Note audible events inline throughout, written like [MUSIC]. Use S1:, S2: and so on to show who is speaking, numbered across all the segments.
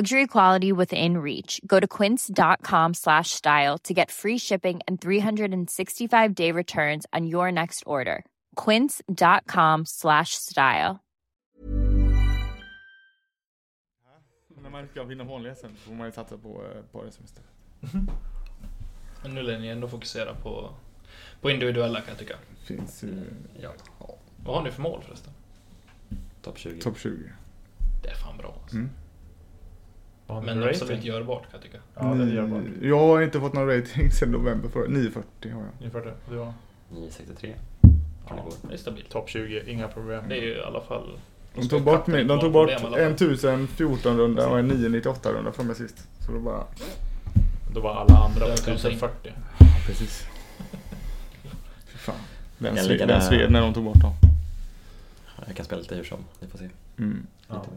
S1: Luxury quality within reach. Go to quince.com slash style to get free shipping and 365 day returns on your next order. Quince.com slash style.
S2: När man inte ska vinna hånläsen får man ju satsa på, eh, på det som istället.
S3: Men nu lär ni ändå fokusera på, på individuella kan jag tycka.
S2: Finns eh, ju
S3: Ja. Vad har ni för mål förresten?
S4: Topp 20.
S2: topp 20.
S3: Det är fan bra alltså.
S2: Mm.
S3: Men absolut görbart kan jag tycka.
S5: Ja, det gör man.
S2: Ni- Mm. Jag har inte fått någon rating [LAUGHS] sedan november förra 9.40 har jag.
S5: Ni får det. Du har-
S4: 963. Kan det
S5: Ja.
S4: gå?
S3: Det är stabilt.
S5: Topp 20, inga problem.
S3: Det är ju i alla fall...
S2: De tog bort, min, de tog bort
S3: Problem i alla fall.
S2: en 1014 runda och en 998 runda från mig sist. Så då bara...
S5: Då var alla andra
S3: Det
S5: på
S3: är tusen.
S5: 1040.
S2: Precis. Fy fan. Den,
S4: Jag
S2: sve-
S4: lika
S2: den
S4: där.
S2: sved när de tog bort dem.
S4: Jag kan spela lite hur som. Ni får se.
S2: Mm.
S5: Ja.
S4: Lite.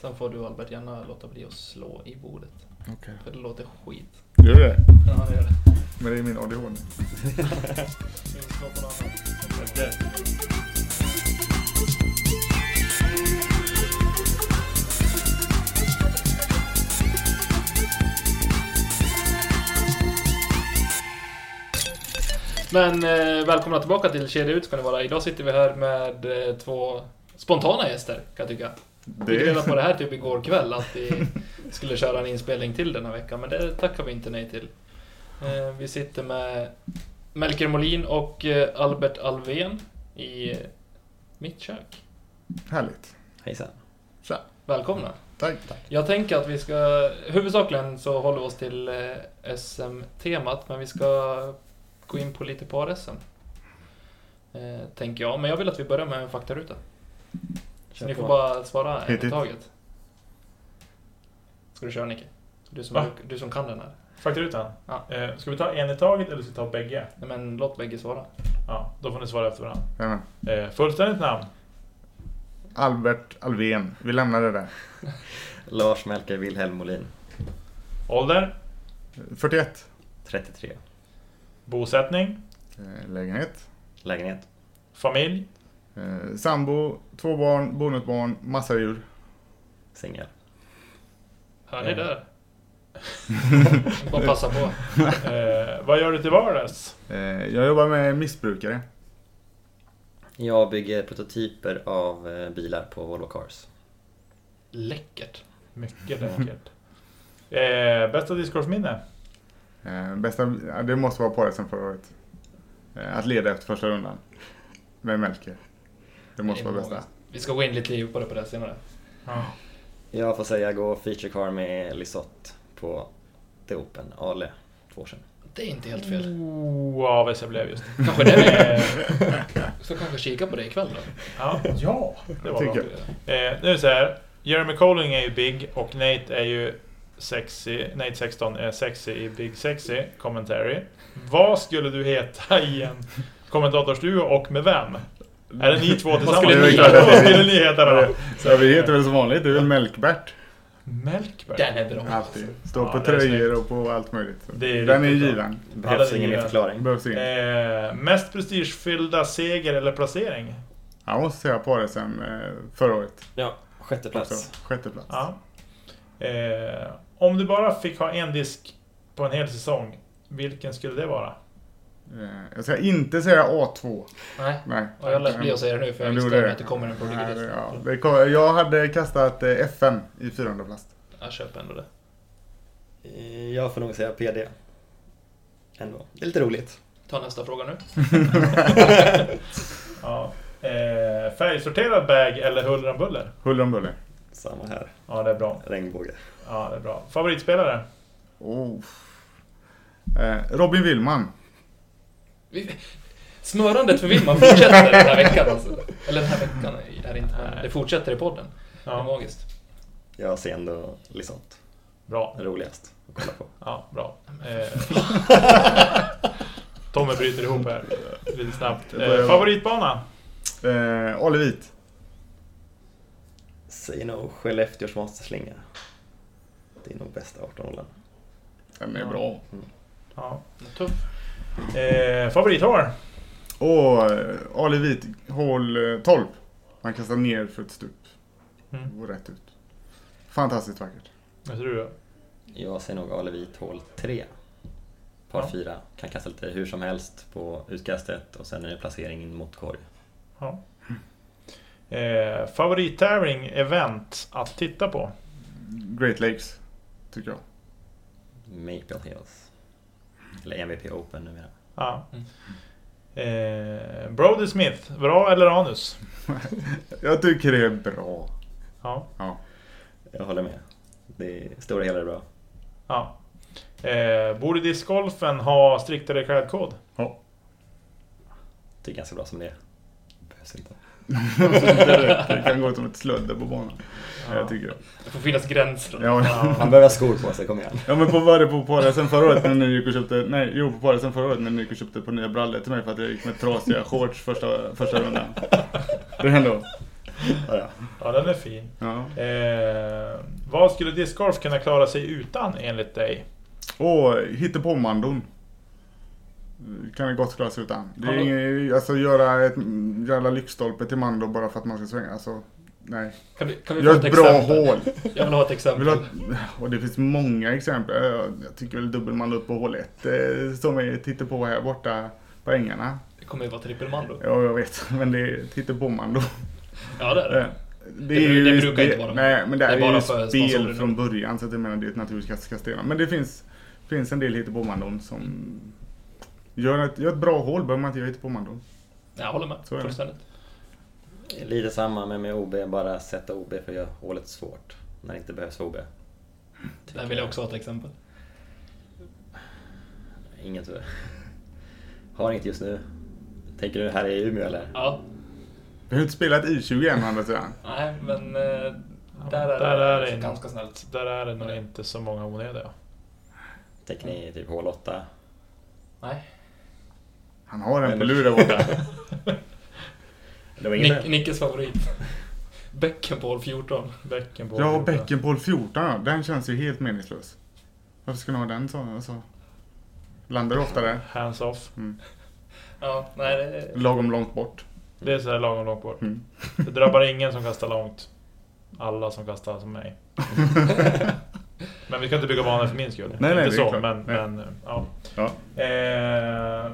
S3: Sen får du Albert gärna låta bli att slå i bordet.
S2: Okej.
S3: För det låter skit.
S2: Gör du det?
S3: Ja, det gör det.
S2: Men det är min ADHD.
S3: Vi slår på något annat. Men eh, välkomna tillbaka till Kedja Ut ska ni vara. Idag sitter vi här med eh, två spontana gäster kan jag tycka. Vi fick reda på det här typ igår kväll att vi skulle köra en inspelning till den här veckan men det tackar vi inte nej till. Eh, vi sitter med Melker Molin och eh, Albert Alvén i eh, mitt kök.
S2: [LAUGHS] Härligt.
S4: Hejsan.
S3: Välkomna!
S2: Tack.
S3: Jag tänker att vi ska, huvudsakligen så håller vi oss till eh, SM-temat, men vi ska gå in på lite par-SM. Eh, tänker jag, men jag vill att vi börjar med en faktaruta. Så ni får bara svara
S2: Hit
S3: en i
S2: it.
S3: taget. Ska du köra Nicke? Du som,
S5: Va?
S3: du som kan den här.
S5: Faktarutan.
S3: Ja.
S5: Eh, Ska vi ta en i taget eller ska vi ta bägge?
S3: Nej men låt bägge svara.
S5: Ja, då får ni svara efter varandra.
S2: Jajamän.
S5: Eh, Fullständigt namn?
S2: Albert Alvén. Vi lämnar det där.
S4: Lars Melker Wilhelm Molin.
S5: Ålder?
S2: 41.
S4: 33.
S5: Bosättning?
S2: Eh, Lägenhet.
S4: Lägenhet.
S5: Familj?
S2: Eh, sambo, två barn, bonusbarn, massa djur.
S4: Singel.
S3: Hör ni
S5: Eh.
S3: där? [LAUGHS] Bara passa på.
S5: Eh, [LAUGHS] vad gör du till vardags?
S2: Eh, jag jobbar med missbrukare.
S4: Jag bygger prototyper av eh, bilar på Volvo Cars.
S3: Läckert.
S5: Mycket läckert. Eh, bästa discgolfminne?
S2: Eh, bästa, ja, det måste vara paret sen förra året. Eh, att leda efter första rundan. Med Melker. Det måste
S3: Det är
S2: vara bästa.
S3: magiskt. Vi ska gå in lite djupare på det senare.
S5: Ja.
S4: Jag får säga gå feature car med Lisott på The Open Ale två år sedan.
S3: Det är inte helt fel.
S5: Oh, ja, vad jag
S3: [LAUGHS]
S5: blev just.
S3: Kanske det är
S5: [LAUGHS] Eh,
S3: Så kanske kika på det ikväll då.
S5: ja, ja, det var
S2: Tycker
S5: bra.
S2: jag.
S5: Eh, nu är det så här. Jeremy Colling är ju big och Nate är ju sexy. Nate 16 är sexy i Big Sexy Commentary. Vad skulle du heta [LAUGHS] i en kommentatorsduo och med vem? Är det ni två
S3: Vad
S5: tillsammans?
S3: skulle ni
S2: heta?
S5: Vad skulle ni heta
S3: [LAUGHS]
S5: då?
S2: Så vi heter väl som vanligt, det är väl Melkbert.
S5: Melkberg?
S3: Den är bra.
S2: Alltid. Står
S5: Ja,
S2: på
S5: det är
S2: tröjor och på allt möjligt. Så.
S5: Det är
S2: Den är ju
S5: riktigt bra.
S2: given.
S4: Behövs
S5: det är
S4: ingen mer
S5: givet.
S4: förklaring.
S2: Behövs in.
S5: Eh, mest prestigefyllda seger eller placering?
S2: Jag måste säga paret sen eh, förra året.
S4: Ja, sjätte
S2: Alltså,
S4: plats.
S2: sjätte plats.
S5: Ja. Eh, om du bara fick ha en disk på en hel säsong, vilken skulle det vara?
S2: Eh, jag ska inte säga A2.
S3: Nej.
S2: Nej.
S3: Och jag lät bli att säga det nu för jag
S2: Ja,
S3: visste
S2: gjorde
S3: om att det kommer en
S2: Nej, det-
S3: prodigidist.
S2: ja, det kom, jag hade kastat eh, FM i 400 plast.
S3: Jag köper ändå det.
S4: Eh, Jag får nog säga PD. Ändå. Det är lite roligt.
S3: Ta nästa fråga nu.
S5: Ja. Eh, färgsorterad bag eller huller om buller?
S2: Huller om buller.
S4: Samma här.
S5: Ja, det är bra.
S4: Regnbåge.
S5: Ja, det är bra. Favoritspelare?
S2: Oh. Eh, Robin Willman.
S3: Vi- Smörandet för Wilma fortsätter den här veckan alltså. Eller den här veckan är det inte, men det fortsätter i podden. Det är
S5: Ja,
S3: magiskt.
S4: Jag ser ändå Lisott.
S5: bra. [LAUGHS]
S4: Roligast att kolla på.
S5: Ja, bra. Eh, bryter ihop här lite snabbt.
S2: Det börjar-
S5: Eh, favoritbana?
S2: Eh, Alevit.
S4: Säg nog Skellefteås monsterslinga. Det är nog bästa 18-ålen.
S2: Den är bra.
S5: Ja.
S3: Tuff.
S5: Eh, favorithår?
S2: Och Alevit, hål eh, 12. Man kastar ner för ett stup
S5: Mm.
S2: och rätt ut. Fantastiskt vackert.
S5: Vad tror du då?
S4: Jag säger nog Alevit hål 3. Par
S5: Ja.
S4: 4. Kan kasta lite hur som helst på utkastet och sen är det placering in mot korg.
S5: Ja. Eh, favorittävling, event att titta på?
S2: Great Lakes, tycker jag.
S4: Maple Hills. Eller MVP Open numera.
S5: Ja. Eh, Brody Smith, bra eller anus?
S2: Jag tycker det är bra.
S5: Ja.
S2: Ja.
S4: Jag håller med. Det är, stora hela är bra.
S5: ja. Eh, borde discgolfen ha striktare klädkod?
S4: Tycker ganska bra som det är. Behövs inte.
S2: [LAUGHS] det kan gå som ett slödder på banan. Jag tycker det.
S3: Det får finnas gränser.
S2: Ja.
S4: Han behöver ha skor på sig, kom igen.
S2: Ja men på var det på Parisen förra året när ni gick och köpte, nej jo på Parisen förra året när ni gick och köpte ett par nya brallor till mig för att jag gick med trasiga shorts första, första rundan. Det hände då.
S4: Ja, ja.
S5: Ja, den är fin.
S2: Ja.
S5: Eh, vad skulle discgolf kunna klara sig utan enligt dig?
S2: Och hittepåmandon. Kan det gott klaras utan. Det är
S3: Hallå.
S2: ingen, alltså göra ett jävla lyktstolpe till mando bara för att man ska svänga. Alltså, nej.
S3: Kan vi, kan vi få
S2: Gör
S3: ett
S2: ett bra
S3: exempel?
S2: hål.
S3: Jag vill ha ett
S2: Jag
S3: exempel.
S2: Vill ha, ett- och det finns många exempel. Jag- Jag tycker väl dubbelmandot på hål 1 som är tittar på här borta på ängarna.
S3: Det kommer ju vara trippelmando.
S2: Ja, jag vet. [LAUGHS] Men det är tittar på mando.
S3: Ja, det är
S2: Eh,
S3: det. Det bru- det brukar inte vara de-
S2: Nej, men det,
S3: det är
S2: är,
S3: bara
S2: ju
S3: för sponsorer.
S2: spel från början så att jag menar det är ett naturligt kast kast igenom. Men det finns, finns en del hittepåmandon som gör ett, gör ett bra hål behöver man inte göra hittepåmandon.
S3: Jag håller med.
S2: Så är det.
S3: Fullständigt.
S4: Lite samma men med OB, bara sätta OB för att göra hålet svårt. När det inte behövs OB.
S3: Där vill jag också ha ett exempel.
S4: Inget... [LAUGHS] Har inget just nu. Tänker du här i Umeå eller?
S3: Ja.
S2: Vi har ju inte spelat I20 än å andra sidan.
S3: Nej, men eh, där
S5: Ja,
S3: är
S5: där
S3: det alltså
S5: är det inte.
S3: ganska snällt.
S5: Där är det nog inte så många onödiga.
S4: Tänker ni typ hål 8?
S3: Nej.
S2: Han har en på
S4: Eller-
S2: lur
S3: [LAUGHS]
S2: där borta.
S4: Det var
S3: Nick,
S4: inget
S3: Nickes favorit. [LAUGHS] Bäcken på hål 14.
S5: Bäcken på
S2: Ja, bäckenboll 14 ja. Den känns ju helt meningslös. Varför ska ni ha den så? Alltså, landar du ofta där?
S5: Hands off.
S3: Ja, nej det...
S2: Lagom långt bort.
S5: Det är så här lagom långt bort.
S2: Mm.
S3: [LAUGHS]
S5: Det drabbar ingen som kastar långt. Alla som kastar som mig. Men vi ska inte bygga banor för min skull.
S2: Nej, nej,
S5: inte
S2: det är
S5: så,
S2: klart.
S5: men,
S2: Nej.
S5: men ja.
S2: [LAUGHS] Ja.
S5: Eh,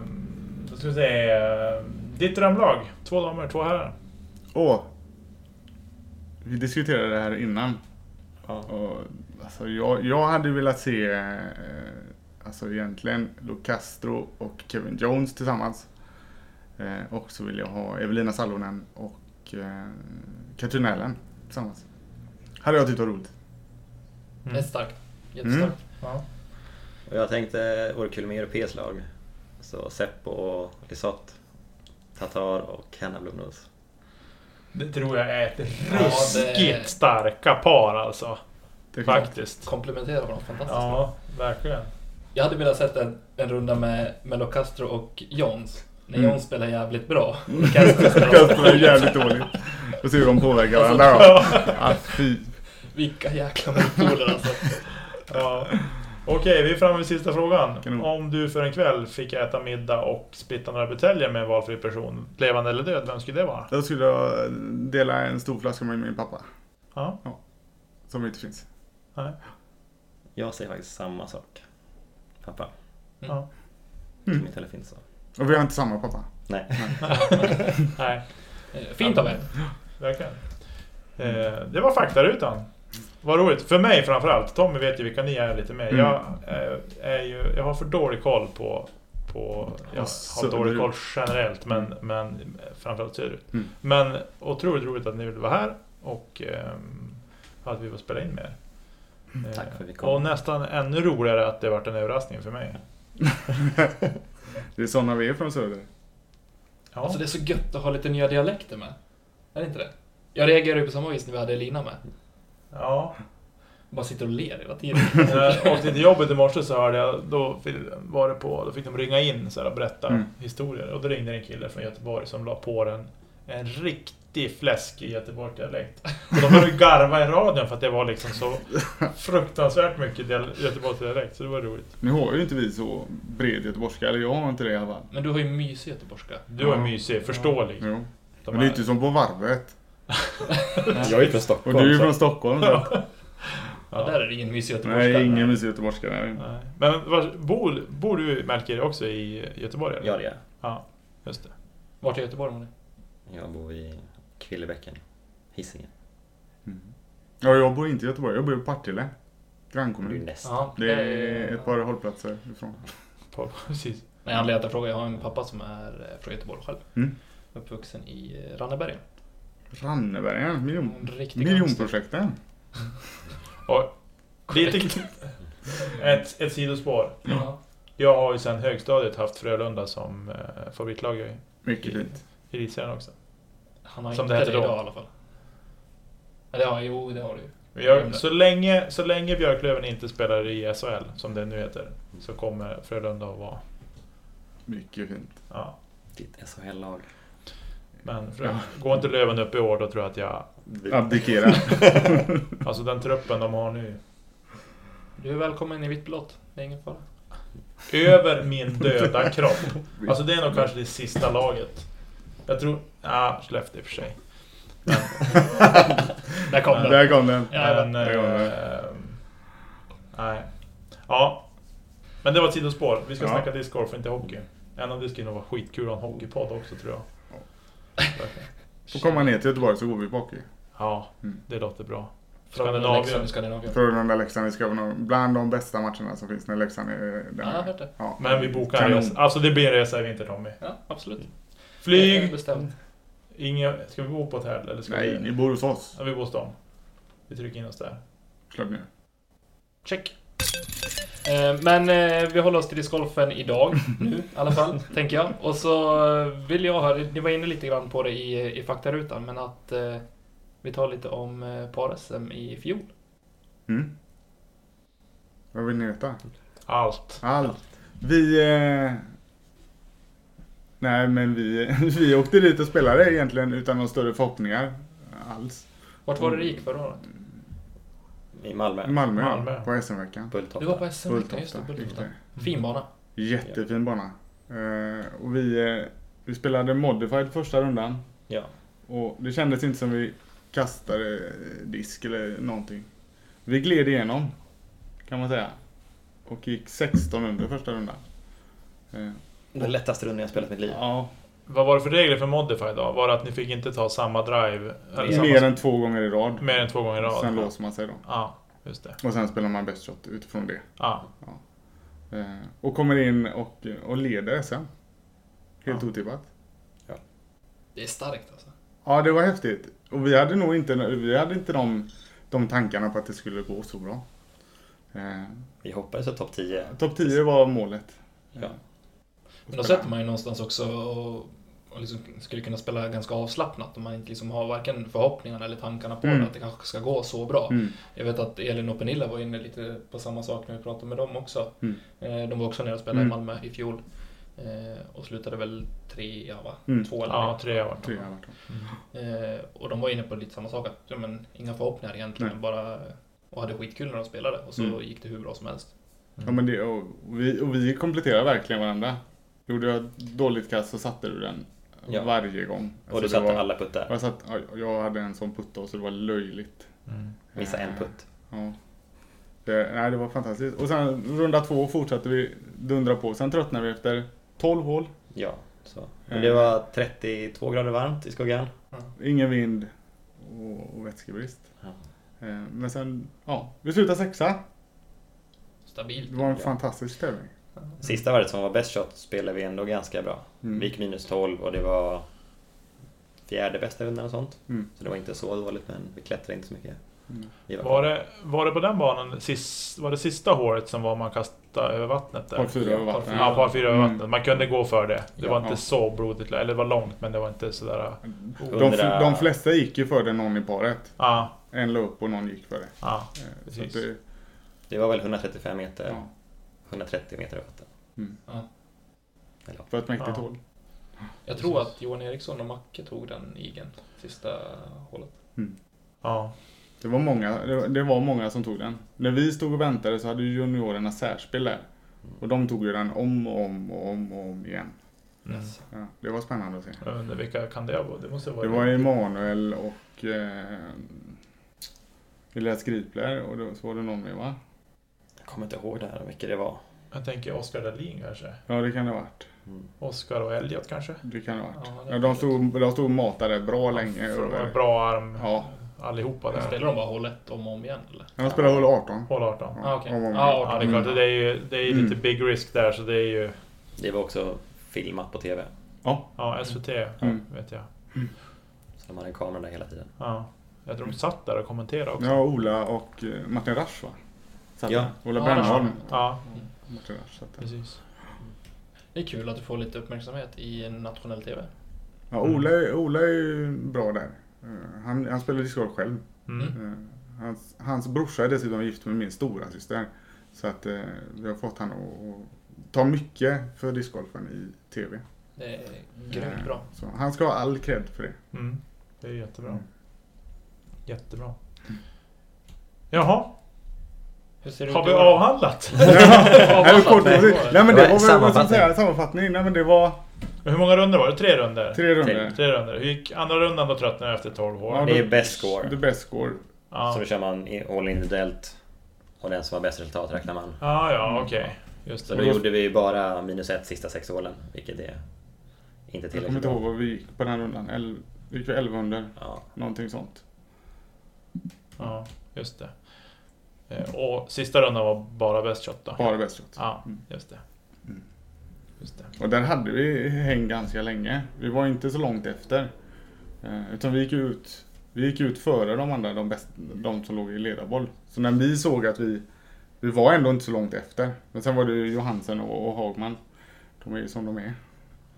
S5: då ska vi se. eh, Ditt drömlag. Två damer, två herrar.
S2: Åh! Vi diskuterade det här innan.
S4: Ja.
S2: Och, alltså, jag, jag hade velat se eh, alltså, egentligen Lo Castro och Kevin Jones tillsammans. Eh, och så vill jag ha Evelina Salonen och eh, Katrin Allen tillsammans. Hade jag tyckt var roligt.
S3: Det är Mm. starkt. Jättestarkt.
S2: Mm.
S5: Ja.
S4: Och jag tänkte, vore kul med europeiskt lag. Så Seppo och Lisotte, Tatar och Hanna Blomros.
S5: Det tror jag är ett
S3: det-
S5: ruskigt starka par alltså.
S2: Det är klart.
S5: Faktiskt.
S3: Komplementerar varandra fantastiskt.
S5: Ja, verkligen.
S3: Jag hade velat sett en, en runda med Melo Castro och Jones. När
S2: Mm.
S3: Jones spelar
S2: [LAUGHS]
S3: jävligt bra. och Castro spelar
S2: Castro är jävligt dåligt. Och se hur de påverkar varandra då.
S5: Ja.
S2: Ah, fy.
S3: Vilka
S2: [LAUGHS]
S3: jäkla motpoler alltså.
S5: Ja. Okej, vi är framme vid sista frågan.
S2: Kanon.
S5: Om du för en kväll fick äta middag och splitta några buteljer med en valfri person, levande eller död, vem skulle det vara?
S2: Då skulle jag dela en stor flaska med min pappa.
S5: Ja.
S2: Som inte finns.
S5: Nej.
S4: Jag säger faktiskt samma sak. Pappa,
S5: Ja.
S2: Mm.
S4: som inte heller finns så.
S2: Och vi har inte samma pappa.
S4: Nej.
S5: Nej,
S3: Eh, Fint av er.
S5: verkligen.
S4: Mm.
S5: Eh, det var faktarutan. Vad roligt. För mig framförallt. Tommy vet ju vilka ni är lite mer.
S2: Mm.
S5: Jag, eh, är ju, jag har för dålig koll på... på jag har
S2: söderut.
S5: dålig koll generellt, men, men framförallt söderut.
S2: Mm.
S5: Men otroligt roligt att ni ville vara här och ehm, att vi får spela in med er. Eh,
S4: Mm. Tack för att vi kom.
S5: och nästan ännu roligare att det varit en överraskning för mig.
S2: [LAUGHS] Det är sådana vi är från Söder.
S5: Ja.
S3: Alltså det är så gött att ha lite nya dialekter med. Är det inte det? Jag reagerade ju på samma vis när vi hade Elina med.
S5: Ja.
S3: Bara sitter och ler hela
S2: [LAUGHS]
S3: tiden.
S5: När jag Eh, åkte till jobbet i morse så hörde jag, då fick, var det på, då fick de ringa in så här, och berätta
S2: Mm.
S5: historier. Och då ringde en kille från Göteborg som la på den en riktig fläsk i Göteborgsdialekt. Och de började garva i radion för att det var liksom så fruktansvärt mycket dial- Göteborgsdialekt, så det var roligt.
S2: Nu har ju inte vi så bred göteborgska, eller jag har inte det i alla fall.
S3: Men du har ju mysig göteborgska.
S5: Du var
S2: Ja.
S5: mysig, förståelig.
S2: Jo.
S5: De
S2: Men det är
S5: här-
S2: inte som på varvet.
S6: [LAUGHS] Jag är ju från
S2: Och
S6: Stockholm.
S2: du är ju
S6: så-
S2: från Stockholm. Så.
S3: Ja, där är det ingen mysig göteborgska.
S2: Nej, ingen mysig göteborgska. Nej.
S5: Nej. Men var, bor, bor du, märker också i Göteborg? Eller?
S4: Ja, det gör jag.
S5: Ja, just det.
S3: Vart i Göteborg bor ni?
S4: Jag bor i Kvillebäcken, Hisingen.
S2: Ja, jag bor inte i Göteborg, jag bor i Partille.
S4: Det är ju
S6: Mm.
S2: Grannkommun.
S4: nästan.
S3: Mm. Ja,
S2: Det är ett par hållplatser ifrån.
S5: På, [LAUGHS] precis.
S3: Nej, anledningen till att jag frågar, jag har en pappa som är eh, från Göteborg själv.
S2: Mm.
S3: Uppvuxen i eh, Rannebergen.
S2: Rannebergen, miljon,
S3: En riktig
S2: miljonprojekten.
S5: Lite, ett, ett sidospår.
S3: Ja.
S5: Jag har ju sedan högstadiet haft Frölunda som eh, favoritlag i
S2: Mycket fint.
S5: i elitserien också.
S3: Han har
S5: Som
S3: inte
S5: det
S3: det,
S5: heter då.
S3: idag i alla fall. Ja, det har, jo, det har du ju.
S5: Men Jag, Mm. så, länge, så länge Björklöven inte spelar i SHL, som det nu heter, så kommer Frölunda att vara...
S2: Mycket fint.
S5: Ja.
S4: Ditt SHL-lag.
S5: Men Frö- går inte Löven upp i år, då tror jag att jag...
S2: Abdikera.
S5: Alltså den truppen de har nu,
S3: Du är välkommen i vitt blått. Det är ingen fara.
S5: över min döda kropp. Alltså det är nog kanske det sista laget. Jag tror... Ja, Skellefteå i och för sig.
S3: Där kom den.
S2: Där kom den.
S3: Ja,
S5: Men...
S2: det gör det.
S5: eh, nej. Ja. Men det var ett sidospår. Vi ska
S2: Ja.
S5: snacka discgolf, inte hockey. En av det skulle nog vara skitkul att ha en hockeypodd också tror jag.
S2: Får komma ner till Göteborg så går vi på hockey.
S5: Ja,
S2: Mm.
S5: det låter bra.
S3: Från
S5: Skandinavien.
S3: Leksand i Skandinavien.
S2: Frölunda-Leksand, vi ska vara någon- bland de bästa matcherna som finns när Leksand är
S3: Ja, jag har
S2: där.
S3: hört det.
S2: Ja.
S5: Men vi bokar en
S2: Kanon.
S5: resa. Alltså det blir en resa i vinter Tommy.
S3: Ja, absolut. Det är
S5: Flyg!
S3: Bestämt.
S5: Inga, ska vi bo på hotell eller ska
S2: Nej,
S5: vi...
S2: ni bor hos oss.
S5: Ja, vi bor hos dem. Vi trycker in oss där.
S2: Klart ni gör.
S3: Check. Eh, Men eh, vi håller oss till discgolfen [LAUGHS] idag, nu i alla fall, tänker jag. Och så eh, vill jag höra, ni var inne lite grann på det i, i faktarutan, men att eh, vi tar lite om eh, par-SM i fjol.
S2: Mm. Vad vill ni veta?
S5: Allt.
S2: Allt. Vi... Eh... Nej, men vi, [LAUGHS] vi åkte dit och spelade egentligen utan några större förhoppningar alls.
S3: Vart var det det gick förra året?
S4: [LAUGHS] I Malmö.
S2: I Malmö,
S5: Malmö.
S2: på SM-veckan.
S4: Bulltofta.
S3: Du var på SM, just det, Mm.
S2: Bulltofta.
S3: Bulltofta.
S2: gick
S3: Fin bana.
S2: det. Jättefin bana. Eh, och vi, eh, vi spelade modified första rundan.
S4: Ja.
S2: Och det kändes inte som vi kastade eh, disk eller någonting. Vi gled igenom, kan man säga. Och gick 16 under första rundan. Eh,
S4: Den lättaste rundan jag spelat i mitt liv.
S2: ja,
S5: Vad var det för regler för Modify då? Var det att ni fick inte ta samma drive? Eller samma,
S2: mer än två gånger i rad.
S5: mer än två gånger i rad?
S2: Sen låser man sig då.
S5: Ja, just det.
S2: Och sen spelar man best shot utifrån det.
S5: Ja.
S2: Eh, och kommer in och, och leder SM. Helt
S5: Ja.
S2: otippat.
S3: Det är starkt alltså.
S2: Ja, det var häftigt. Och vi hade nog inte, vi hade inte de, de tankarna på att det skulle gå så bra. Eh,
S4: Vi hoppades på topp 10.
S2: Topp 10 var målet.
S4: Ja.
S3: Men då sätter man ju någonstans också och, och liksom skulle kunna spela ganska avslappnat om man inte liksom har varken förhoppningarna eller tankarna på
S2: Mm.
S3: det, att det kanske ska gå så bra.
S2: Mm.
S3: Jag vet att Elin och Pernilla var inne lite på samma sak när vi pratade med dem också.
S2: Mm.
S3: Eh, De var också nere och spelade
S2: Mm.
S3: i Malmö i fjol. Eh, Och slutade väl trea, va?
S2: Mm.
S3: Två eller
S5: Ja, tre var
S2: Tre har varit de.
S3: Eh, Och de var inne på lite samma sak, att ja, men, inga förhoppningar egentligen,
S2: Nej.
S3: bara och hade skitkul när de spelade och så
S2: Mm.
S3: gick det hur bra som helst.
S2: Ja, men det, och, vi, och vi kompletterar verkligen varandra. Gjorde jag ett dåligt kast så satte du den
S4: Ja.
S2: varje gång. Alltså,
S4: Och du
S2: det
S4: satte
S2: var, Mm.
S4: alla puttar.
S2: Jag, satt, ja, jag hade en sån putt då, så det var löjligt.
S5: Mm.
S4: Missa en
S2: Eh,
S4: putt.
S2: Ja. Det, nej, det var fantastiskt. Och sen runda två fortsatte vi dundra på. Sen tröttnade vi efter 12 hål.
S4: Ja. Så. Men
S2: Mm.
S4: det var 32 grader varmt i skuggan.
S2: Ingen vind och, och vätskebrist.
S4: Ja.
S2: Eh, Men sen, ja, vi slutade sexa.
S3: Stabilt.
S2: Det var en
S4: Ja.
S2: fantastisk tävling.
S4: Sista varvet som var bäst shot spelade vi ändå ganska bra.
S2: Mm.
S4: Vi gick minus 12 och det var fjärde bästa rundan och sånt.
S2: Mm.
S4: Så det var inte så dåligt men vi klättrade inte så mycket.
S2: Mm.
S4: Vi
S5: Var det, var det på den banan, sist, var det sista hålet som var man kastade över vattnet där?
S2: Par fyra över vattnet.
S5: Ja, par fyra över
S2: Mm.
S5: vattnet. Man kunde gå för det. Det
S4: Ja.
S5: var inte så blodigt, eller det var långt men det var inte sådär... ah,
S2: De,
S4: Undra-
S2: de flesta gick ju för den någon i paret.
S5: Ja,
S2: Eh, en la upp och någon gick före.
S5: Ja,
S2: Eh, Så
S5: Precis.
S2: att det,
S4: Det var väl 135 meter,
S2: ja,
S4: 130 meter över vatten.
S2: mm.
S3: Ja.
S4: Eller, ja.
S2: För ett mäktigt
S5: Ja.
S2: hål.
S3: Jag tror att Johan Eriksson och Macke tog den igen sista hålet.
S5: ja.
S2: Det var, många, det, var, det var många som tog den. När vi stod och väntade så hade ju juniorerna särspel där. Och de tog ju den om och om och om och om igen.
S5: Mm.
S3: Yes.
S2: Ja, det var spännande att se.
S5: Jag undrar vilka kan det vara? Det måste vara...
S2: Det var Emanuel och eh, Elias Gripler och då, så var det någon mer va?
S4: Jag kommer inte ihåg det här hur mycket det var.
S5: Jag tänker Oskar Dahlin kanske?
S2: Ja det kan det ha varit.
S4: Mm.
S5: Oskar och Elliot kanske?
S2: Det kan det ha varit.
S3: Ja, det
S2: Ja, de, stod, de stod och matade bra länge.
S5: För de har
S2: över-
S5: en bra arm
S2: Ja,
S5: allihopa där.
S3: Spelar de bara hål ett om och om igen eller?
S2: de spelade hål 18.
S5: Hål 18.
S3: Ah, okej.
S2: Om och om.
S3: Ah,
S5: Ja, det är klart. Det är ju det är ju lite
S2: Mm.
S5: big risk där så det är ju...
S4: Det var också filmat på TV,
S2: Ja,
S5: Ja, SVT
S2: Mm.
S5: vet jag.
S4: så de hade en kamera där hela tiden.
S5: Ja. Jag tror de satt där och kommenterade också.
S2: ja, Ola och eh, Martin Rasch va? Satt
S4: Ja.
S2: där. Ola
S3: Ja,
S2: Brännholm.
S3: Rasch.
S5: Ja,
S2: och Martin Rasch satt där.
S5: precis.
S3: Det är kul att du får lite uppmärksamhet i nationell TV.
S2: Ja, Ola, är- Ola är ju bra där. Eh, Han, han spelar discgolf själv.
S5: Mm.
S2: Eh, Hans, hans brorsa är dessutom gift med min stora syster. Så att eh, vi har fått han att, att ta mycket för discgolfen i TV.
S3: Det är grymt
S2: Eh,
S3: bra.
S2: Så han ska ha all cred för det.
S5: Mm. Det är jättebra.
S2: Mm.
S5: Jättebra. Jaha,
S3: Hur ser det
S5: har
S3: ut
S5: vi
S3: i år då?
S5: avhandlat?
S2: Nej, kort,
S3: Nej,
S2: precis.
S3: det var-
S2: Nej men det var
S4: det var
S2: väl vad ska
S4: sammanfattning.
S2: säga, sammanfattning. Nej men det var
S5: Hur många runder var det? Tre runder?
S2: tre runder.
S5: Tre runder. Hur gick andra rundan då tröttnade jag efter 12 hål.
S2: Ja,
S4: Det
S2: då-
S4: är bäst score.
S2: The best score.
S5: Ja.
S4: Så då kör man i- all individuellt och den som har bäst resultat räknar man.
S5: Ja,
S2: Mm.
S5: ja, okej. Just
S4: Så
S5: det.
S4: då gjorde vi ju bara minus ett sista sex hålen, vilket är inte
S2: Jag kommer
S4: tillräckligt
S2: inte ihåg
S4: bra.
S2: vad vi gick på den här rundan. El, vi gick vi 1100?
S4: Ja,
S2: Någonting sånt.
S5: Ja, just det. Eh, Och sista rundan var bara bäst shot då?
S2: Bara bäst shot.
S5: Ja,
S2: Mm.
S5: just det.
S2: Mm.
S5: Just det.
S2: Och där hade vi häng ganska länge. Vi var inte så långt efter. Eh, Utan vi gick ut, vi gick ut före de andra, de, bäst, de som låg i ledarboll. Så när vi såg att vi, vi var ändå inte så långt efter. Men sen var det ju Johansen och, och Hagman. De är ju som de är.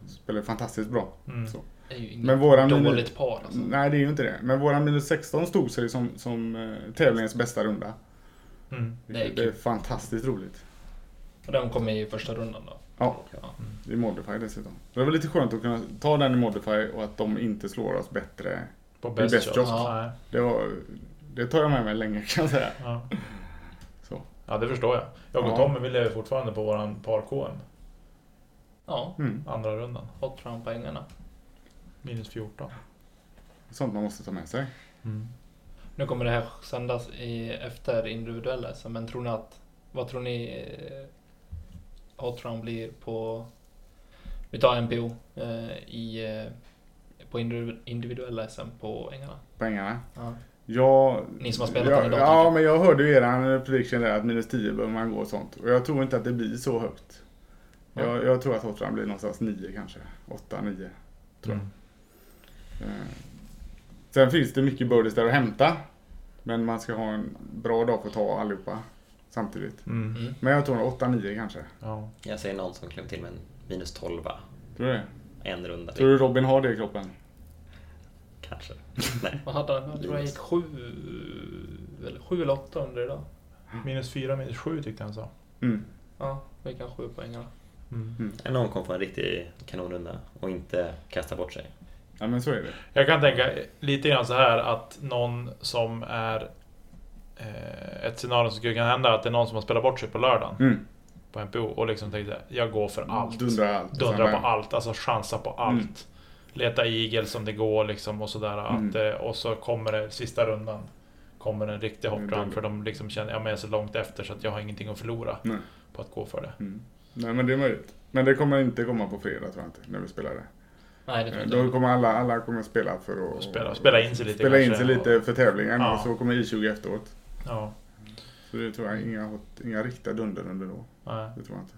S2: Spelade fantastiskt bra.
S5: Mm.
S2: Så.
S3: Det är ju inget
S2: Men våran Mm. mini-
S3: dåligt par alltså.
S2: Nej det är ju inte det. Men våran minus 16 stod sig som, som eh, tävlingens bästa runda.
S5: Mm.
S3: Det är
S2: det är
S3: kul.
S2: fantastiskt roligt.
S3: Och den kom i första rundan då.
S2: Ja, i Modify dessutom. Så det var lite skönt att kunna ta den i Modify och att de inte slår oss bättre.
S5: På
S2: Det är
S5: bäst
S2: bäst
S5: shot.
S2: shot.
S5: Ja. Nej,
S2: Det, var, det tar jag med mig länge [LAUGHS] kan jag säga.
S5: Ja.
S2: Så.
S5: ja, det förstår jag. Jag och
S2: Ja.
S5: Tommy vi lever fortfarande på våran par-KM.
S3: Ja,
S2: Mm.
S5: Andra rundan.
S3: fått fram poängarna.
S5: Minus 14.
S2: Sånt man måste ta med sig.
S5: Mm.
S3: Nu kommer det här sändas i, efter individuella SM, men tror ni att... Vad tror ni eh, Hot Round blir på... Vi tar NPO eh, i, eh, på individu- individuella SM på ängarna.
S2: Pengarna.
S3: Ja.
S2: Jag,
S3: Ni som har spelat
S2: jag,
S3: den idag, tänker
S2: Ja,
S3: jag.
S2: men jag hörde ju eran prediction där att minus 10 behöver man gå och sånt. Och jag tror inte att det blir så högt.
S3: Ja.
S2: Jag, jag tror att Hotram blir någonstans 9 kanske. 8, 9. Tror jag.
S5: Mm.
S2: Eh, Sen finns det mycket birdies där att hämta. Men man ska ha en bra dag för att ta allihopa samtidigt.
S5: Mm.
S3: Mm.
S2: Men jag tror 8-9 kanske.
S5: Ja.
S4: jag säger någon som klev till med en minus 12
S2: Tror du det?
S4: en runda
S2: Tror du Robin har det i kroppen?
S4: kanske.
S3: Vad hade han? Jag tror han gick sju eller, sju eller åtta under idag.
S5: Minus 4, minus 7 tyckte han sa.
S2: Mm.
S3: Ja, vi kan sju poängarna.
S4: Någon kom på en riktig kanonrunda och inte kasta bort sig.
S2: Ja men så är det.
S5: Jag kan tänka lite grann så här att någon som är... Eh, ett scenario som skulle kunna hända att det är någon som har spelat bort sig på lördagen
S2: Mm.
S5: på NPO och liksom tänkte jag går för allt.
S2: Dundrar allt.
S5: Dundra på allt, alltså chansa på allt.
S2: Mm.
S5: Leta igel som det går liksom och sådär. Att,
S2: Mm.
S5: eh, och så kommer det sista rundan. Kommer en riktig hot
S2: Mm,
S5: run
S2: det-
S5: för de liksom känner jag är så långt efter så att jag har ingenting att förlora
S2: Nej.
S5: på att gå för det.
S2: Mm. Nej men det är möjligt. Men det kommer inte komma på fredag tror jag inte, när vi spelar det. Eh,
S3: Nej, det tror jag
S2: Då
S3: inte.
S2: kommer alla, alla kommer spela för att...
S5: Spela- spela in sig lite
S2: Spela in
S5: kanske.
S2: sig lite för tävlingen
S5: Ja.
S2: och så kommer I20 efteråt.
S5: Ja,
S2: Så det tror jag inga, hot- inga riktiga dunder under då.
S5: nej.
S2: Det tror jag inte.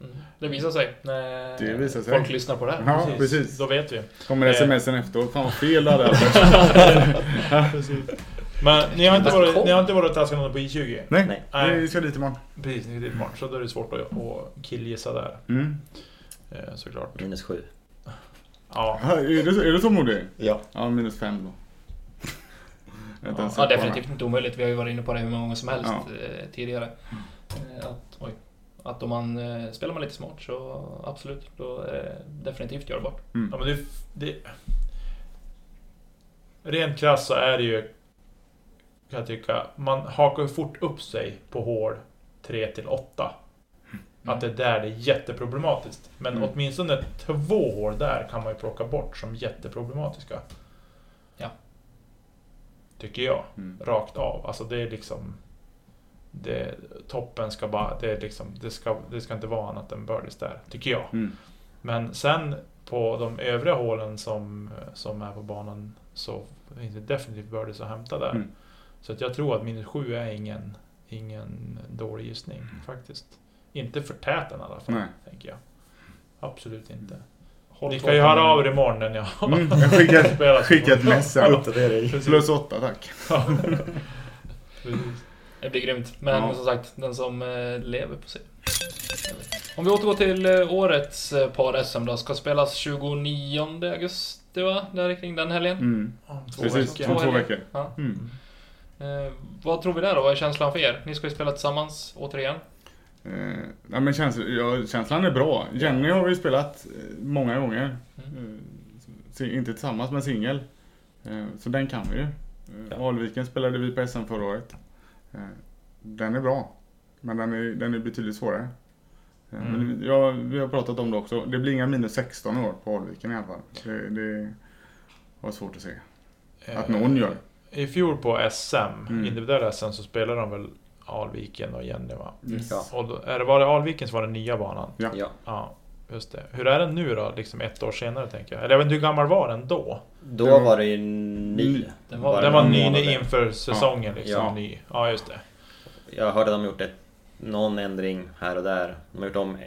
S3: Mm. Det visar sig när
S2: Det visar sig.
S3: folk lyssnar på det här.
S2: Ja, precis.
S5: Då vet vi.
S2: Kommer
S5: Eh.
S2: smsen efteråt. Fan vad fel du hade [LAUGHS] Albert.
S5: Men ni har inte
S3: Fast
S5: varit,
S3: kom.
S5: ni har inte varit och taskat någon på I20?
S2: Nej,
S4: Nej.
S5: Nej.
S2: vi ska dit imorgon.
S5: Precis, ni är dit imorgon. Så då är det svårt att, att killgissa där.
S2: Mm.
S5: eh, Såklart.
S4: Minus 7.
S5: Ja.
S2: Ja, Är, du, är du så modig?
S4: Ja.
S2: Ja, minus fem då. Jag vet inte ens
S3: Ja,
S2: hur
S3: definitivt inte omöjligt. Vi har ju varit inne på det hur många gånger som helst
S2: Ja.
S3: eh, tidigare. Eh, Att, oj, att om man eh, spelar man lite smart så absolut, då är det definitivt görbart.
S2: Mm.
S5: Ja, men det, det, rent krasst så är det ju, kan jag tycka, man hakar ju fort upp sig på hål 3 till 8. Att det är där det är jätteproblematiskt. Men
S2: Mm.
S5: åtminstone två hål där kan man ju plocka bort som jätteproblematiska.
S3: Ja.
S5: Tycker jag.
S2: Mm.
S5: Rakt av. Alltså det är liksom... Det, toppen ska bara... Det, är liksom, det, ska, det ska inte vara annat än birdies där, tycker jag.
S2: Mm.
S5: Men sen på de övriga hålen som, som är på banan så finns det definitivt birdies att hämta där.
S2: Mm.
S5: Så att jag tror att minus 7 är ingen, ingen dålig gissning faktiskt. Inte för tät den i alla fall,
S2: Mm. Nej.
S5: tänker jag. Absolut inte.
S3: Håll
S5: Ni
S3: två
S5: kan ju höra
S3: tummar.
S5: av er imorgon när ni har
S2: Mm. Jag
S5: [LAUGHS]
S2: skickar,
S5: spelat.
S2: skickar ett mess sen.
S6: Uppdatering.
S5: Precis.
S2: Plus åtta tack.
S5: Ja. Precis.
S3: Det blir grymt. Men
S2: Ja.
S3: som sagt, den som eh, lever på sig. Om vi återgår till eh, årets eh, par-SM då. Ska spelas 29 augusti va? Där kring den helgen.
S2: Mm.
S5: Om två
S2: Precis,
S5: veckor.
S2: om två
S3: helger.
S2: veckor.
S3: Ja.
S2: Mm.
S3: Eh, vad tror vi där då? Vad är känslan för er? Ni ska ju spela tillsammans återigen.
S2: Eh, nej, men käns ja, känslan är bra. Jenny har vi spelat eh, många gånger. Eh, si- inte tillsammans, men singel. Eh, så den kan vi ju. Eh,
S4: Ja.
S2: Alviken spelade vi på SM förra året. Eh, den är bra. Men den är, den är betydligt svårare. Eh,
S5: Mm.
S2: men ja, vi har pratat om det också. Det blir inga minus 16 i år på Alviken i alla fall. Det, det var svårt att se. Att någon gör.
S5: I fjol på SM,
S2: Mm.
S5: individuella SM, så spelade de väl Alviken och Jenny va?
S2: Mm.
S4: Ja.
S5: Och då, är det, var det Alviken som var den nya banan?
S2: Ja.
S4: Ja.
S5: Ja, just det. Hur är den nu då, liksom ett år senare tänker jag? Eller jag vet inte hur gammal var den då?
S4: Då
S2: Den-
S4: var det ju ny.
S3: Den var-
S4: Bara
S5: Den var
S4: några
S5: ny
S4: månader.
S5: inför säsongen liksom.
S4: Ja.
S5: Ny. ja, just det.
S4: Jag hörde att de gjort ett, någon ändring här och där. De har gjort om eh,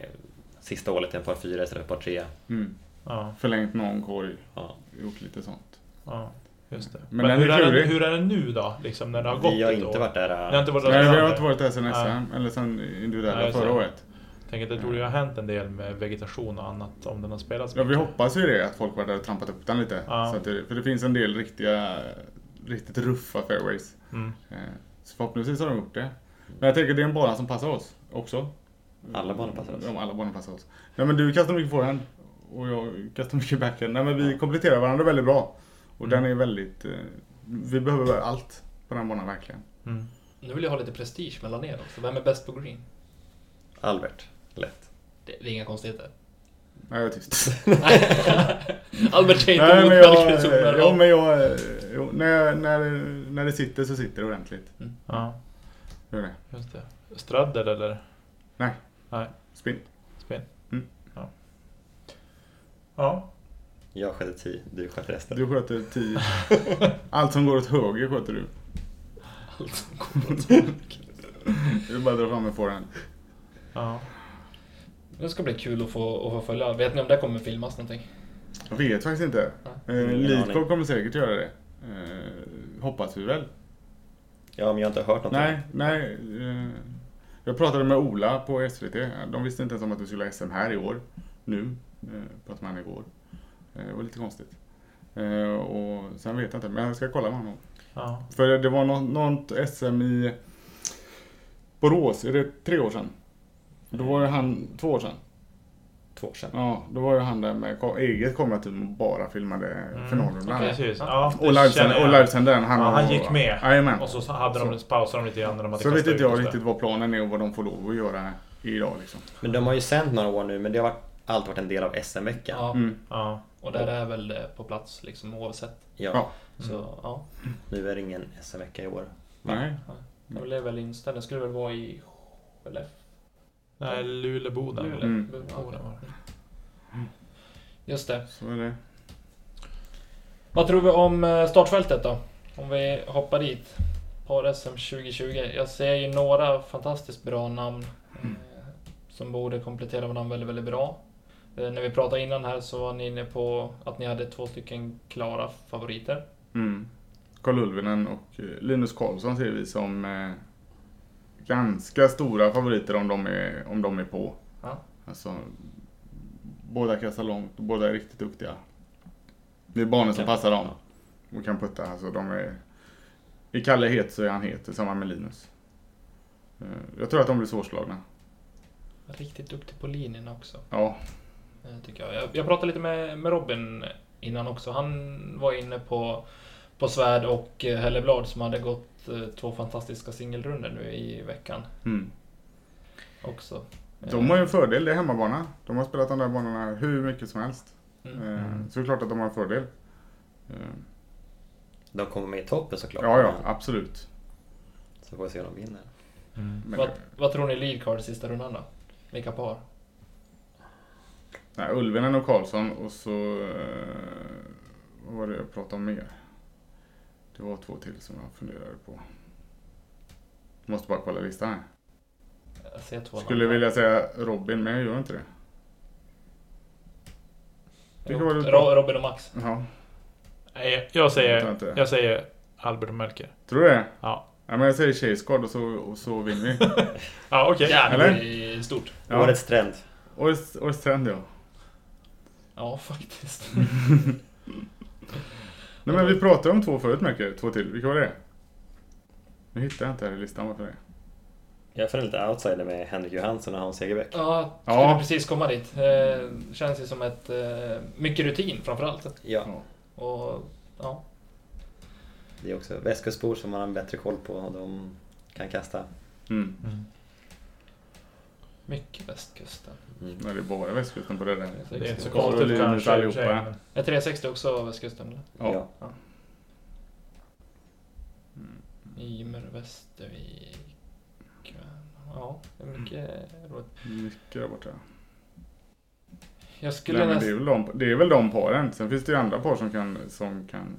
S4: sista hålet till en par fyra istället för par tre.
S2: Mm.
S5: Ja,
S2: Förlängt någon korg,
S4: Ja.
S2: gjort lite sånt.
S5: ja just det.
S2: Men
S5: Men,
S2: den
S5: hur,
S2: är
S5: är den,
S2: klurig.
S5: hur är den nu då? Liksom, när det har gått
S4: Vi har
S5: ett
S4: inte
S5: år?
S4: varit där. äh,
S5: Ni har inte varit där
S2: Nej, vi har
S5: sedan?
S2: inte varit där sen
S5: Nej.
S2: SM, eller sen
S5: Nej,
S2: individuella
S5: just
S2: förra
S5: det.
S2: året.
S5: Tänker att det borde ju ha hänt en del med vegetation och annat om den har spelats
S2: Ja, vi
S5: mycket.
S2: hoppas ju det, att folk var där och trampat upp den lite.
S5: Ja.
S2: Så att det, för det finns en del riktiga, riktigt ruffa fairways.
S5: Mm.
S2: Eh, Så förhoppningsvis har de gjort det. Men jag tänker det är en bana som passar oss också.
S4: Alla banor passar oss.
S2: Ja, alla banor passar oss. Nej, men du kastar mycket forehand och jag kastar mycket backhand. Nej, men vi kompletterar varandra väldigt bra. Och den
S5: Mm.
S2: är väldigt... eh, Vi behöver allt på den banan verkligen.
S5: Mm.
S3: Nu vill jag ha lite prestige mellan er också. Vem är bäst på green?
S4: Albert. Lätt.
S3: Det, det är inga konstigheter. [LAUGHS]
S2: Nej, jag är tyst.
S3: Albert är inte
S2: Nej, men jag,
S3: motverkad solen.
S2: jo, men jag, eh, jo, när, jag- när, när det sitter så sitter det ordentligt.
S5: Ja,
S2: Gör det.
S5: just det. Straddel eller?
S2: Nej.
S5: Nej.
S2: Spinn.
S5: Spinn?
S2: Mm.
S5: Ja. Ja.
S4: Jag skötte tio, du skötte resten.
S2: Du sköter 10. Allt som går åt höger sköter du.
S3: Allt som går åt helvete.
S2: Du bara drar fram en forehand.
S5: ja.
S3: Det ska bli kul att få, att få följa. Vet ni om det kommer filmas någonting?
S2: Jag vet faktiskt inte. Eh,
S4: Ingen
S2: Lidkov
S4: aning. kommer...
S2: kommer säkert göra det. Eh, hoppas vi väl.
S4: Ja, men jag har inte hört någonting.
S2: Nej, nej. Eh, jag pratade med Ola på SVT. De visste inte ens om att vi skulle ha SM här i år. Nu. Eh, pratade med han igår. Eh, det var lite konstigt. Eh, och sen vet jag inte, men jag ska kolla med honom.
S5: ja.
S2: För det var något, något SM i Borås, är det tre år sedan? Då var ju han, två år sedan.
S4: Två år sedan.
S2: Ja, då var ju han där med ko- eget kamerateam och bara filmade
S5: Mm,
S2: finalerna.
S3: okej.
S5: Precis. Ja,
S2: Och
S5: det känner
S2: livesändaren.
S5: jag.
S2: Och livesändaren.
S5: Ja, han
S2: och-
S5: gick med.
S2: Jajamän.
S5: Och så hade de, pausade de lite grann när de hade
S2: Så vet
S5: kastat
S2: inte
S5: ut
S2: jag
S5: oss
S2: riktigt
S5: där.
S2: vad planen är och vad de får lov att göra idag liksom.
S4: Men de har ju sänt några år nu, men det har varit, allt varit en del av SM-veckan.
S3: Ja.
S2: Mm.
S5: Ja.
S3: Och där är väl det på plats liksom oavsett.
S4: Ja.
S2: Ja.
S3: Så ja,
S4: Nu är det ingen SM-vecka i år.
S2: Nej.
S3: det blev väl inställd. Den skulle väl vara i Skellefteå?
S5: Nej, Luleboda.
S3: Luleå?
S2: Mm.
S3: Ja, okej. Just det.
S2: Så är det.
S3: Vad tror vi om eh, startfältet då? Om vi hoppar dit. Par-SM 2020. Jag ser ju några fantastiskt bra namn eh,
S2: Mm.
S3: som borde komplettera varandra väldigt, väldigt bra. Eh, När vi pratade innan här så var ni inne på att ni hade två stycken klara favoriter.
S2: Mm. Karl Ulvinen och eh, Linus Karlsson ser vi som eh, ganska stora favoriter om de är, om de är på.
S3: Ja.
S2: Alltså, båda kastar långt, båda är riktigt duktiga. Det är banor som
S4: Kan-
S2: passar dem och kan putta. Alltså, de är Är Kalle het så är han het, tillsammans med Linus. Eh, Jag tror att de blir svårslagna.
S3: Riktigt duktig på linjen också.
S2: Ja,
S3: eh, Tycker jag. Jag, jag pratade lite med, med Robin innan också. Han var inne på, på Svärd och eh, Helleblad som hade gått eh, två fantastiska singelrunder nu i veckan
S2: mm.
S3: också.
S2: De har ju en fördel, det är hemmabana. De har spelat de där banorna hur mycket som helst.
S3: Mm.
S2: Eh, Så det är klart att de har en fördel. Eh,
S4: De kommer med i toppen såklart.
S2: Ja, ja, absolut.
S4: Så får vi se om de vinner.
S2: Men,
S3: Vad, vad tror ni leadcard sista rundan då? Vilka par?
S2: nej, Ulvenen och Karlsson och så... eh, Vad var det jag pratade om mer? Det var två till som jag funderade på. Måste bara kolla listan här.
S3: Jag ser två
S2: Skulle
S3: namn.
S2: vilja säga Robin, men jag gör inte det.
S3: Jo,
S2: Vilka var det du-
S3: Ro- Robin och Max.
S2: Ja,
S5: Nej, jag
S2: jag tar
S5: säger,
S2: inte det.
S5: jag säger Albert och Melker.
S2: Tror du det?
S5: Ja.
S2: Nej, men jag säger Tjejskad och så, och så vinner
S3: [LAUGHS]
S2: vi.
S5: Ja, okej.
S3: Ja, det
S2: Eller?
S3: är stort.
S2: Ja.
S4: Årets trend.
S2: Årets, årets trend ja.
S3: Ja, [LAUGHS] faktiskt.
S2: Nej men vi pratade om två förut märker jag. Två till. Vilka var det? Nu hittar jag inte här i listan varför det.
S4: Jag får en lite outsider med Henrik Johansson och Hans Segerbäck.
S3: Ja,
S2: Ja.
S3: skulle precis komma dit. Eh, känns ju som ett... Eh, mycket rutin framförallt.
S4: Ja,
S3: Och ja,
S4: det är också västkustbor som man har en bättre koll på. och De kan kasta.
S2: Mm.
S3: mycket västkusten.
S4: Mm.
S2: Nej, det är bara västkusten på det där.
S3: Det är
S5: Det är inte så
S2: Karl och
S5: konstigt
S2: Linus
S5: kanske. i och för sig,
S2: allihopa.
S5: men-
S3: Är 360 också västkusten? eller?
S2: Ja. Mm.
S4: Ja.
S3: Ymer, Västervik... Ja, det är mycket roligt.
S2: Mycket där borta.
S3: Jag skulle
S2: Nej, men det, är
S3: nästan...
S2: väl de, det är väl de paren. Sen finns det ju andra par som kan, som kan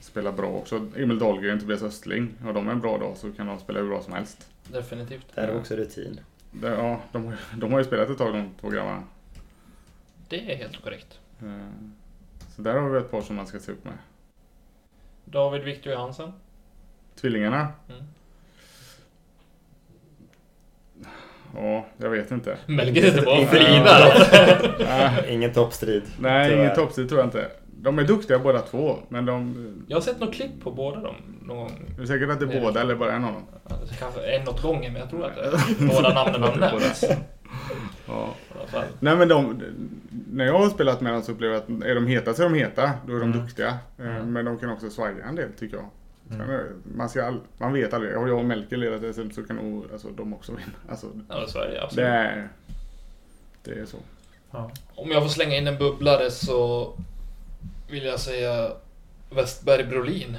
S2: spela bra också. Emil Dahlgren, Tobias Östling. Har de en bra dag så kan de spela hur bra som helst.
S3: Definitivt.
S4: Där är också rutin.
S2: Det, ja, de, har ju- de har ju spelat ett tag de två grabbarna.
S3: Det är helt korrekt.
S2: Eh, Så där har vi ett par som man ska se upp med.
S3: David Victor Johansen.
S2: Tvillingarna?
S3: Mm.
S2: Ja, jag vet
S3: [LAUGHS]
S2: inte. Eh,
S3: Melker sitter bara och
S4: Inte-
S3: flinar.
S4: [LAUGHS] Ingen toppstrid.
S2: Nej,
S4: tyvärr.
S2: ingen toppstrid tror jag inte. De är duktiga båda två, men de...
S3: Jag har sett något klipp på båda dem någon gång.
S2: Det är säkert att det
S3: Nej.
S2: är båda eller bara en av dem.
S3: Alltså, kanske en åt gången, men jag tror att eh, båda namnen har nämnts. I
S2: Ja.
S3: alla fall.
S2: Nej men de, när jag har spelat med dem så upplever jag att är de heta så är de heta. Då är de
S5: Mm.
S2: duktiga. Eh,
S5: Mm.
S2: Men de kan också svaja en del tycker jag. Sen är- Man, ska all, man vet aldrig. Har jag och Melker ledat SM så kan nog alltså, de också vinna. Alltså,
S3: Ja, så är det
S2: det,
S3: absolut.
S2: är, det är så.
S5: Ja.
S3: Om jag får slänga in en bubblare så vill jag säga Westberg Brolin.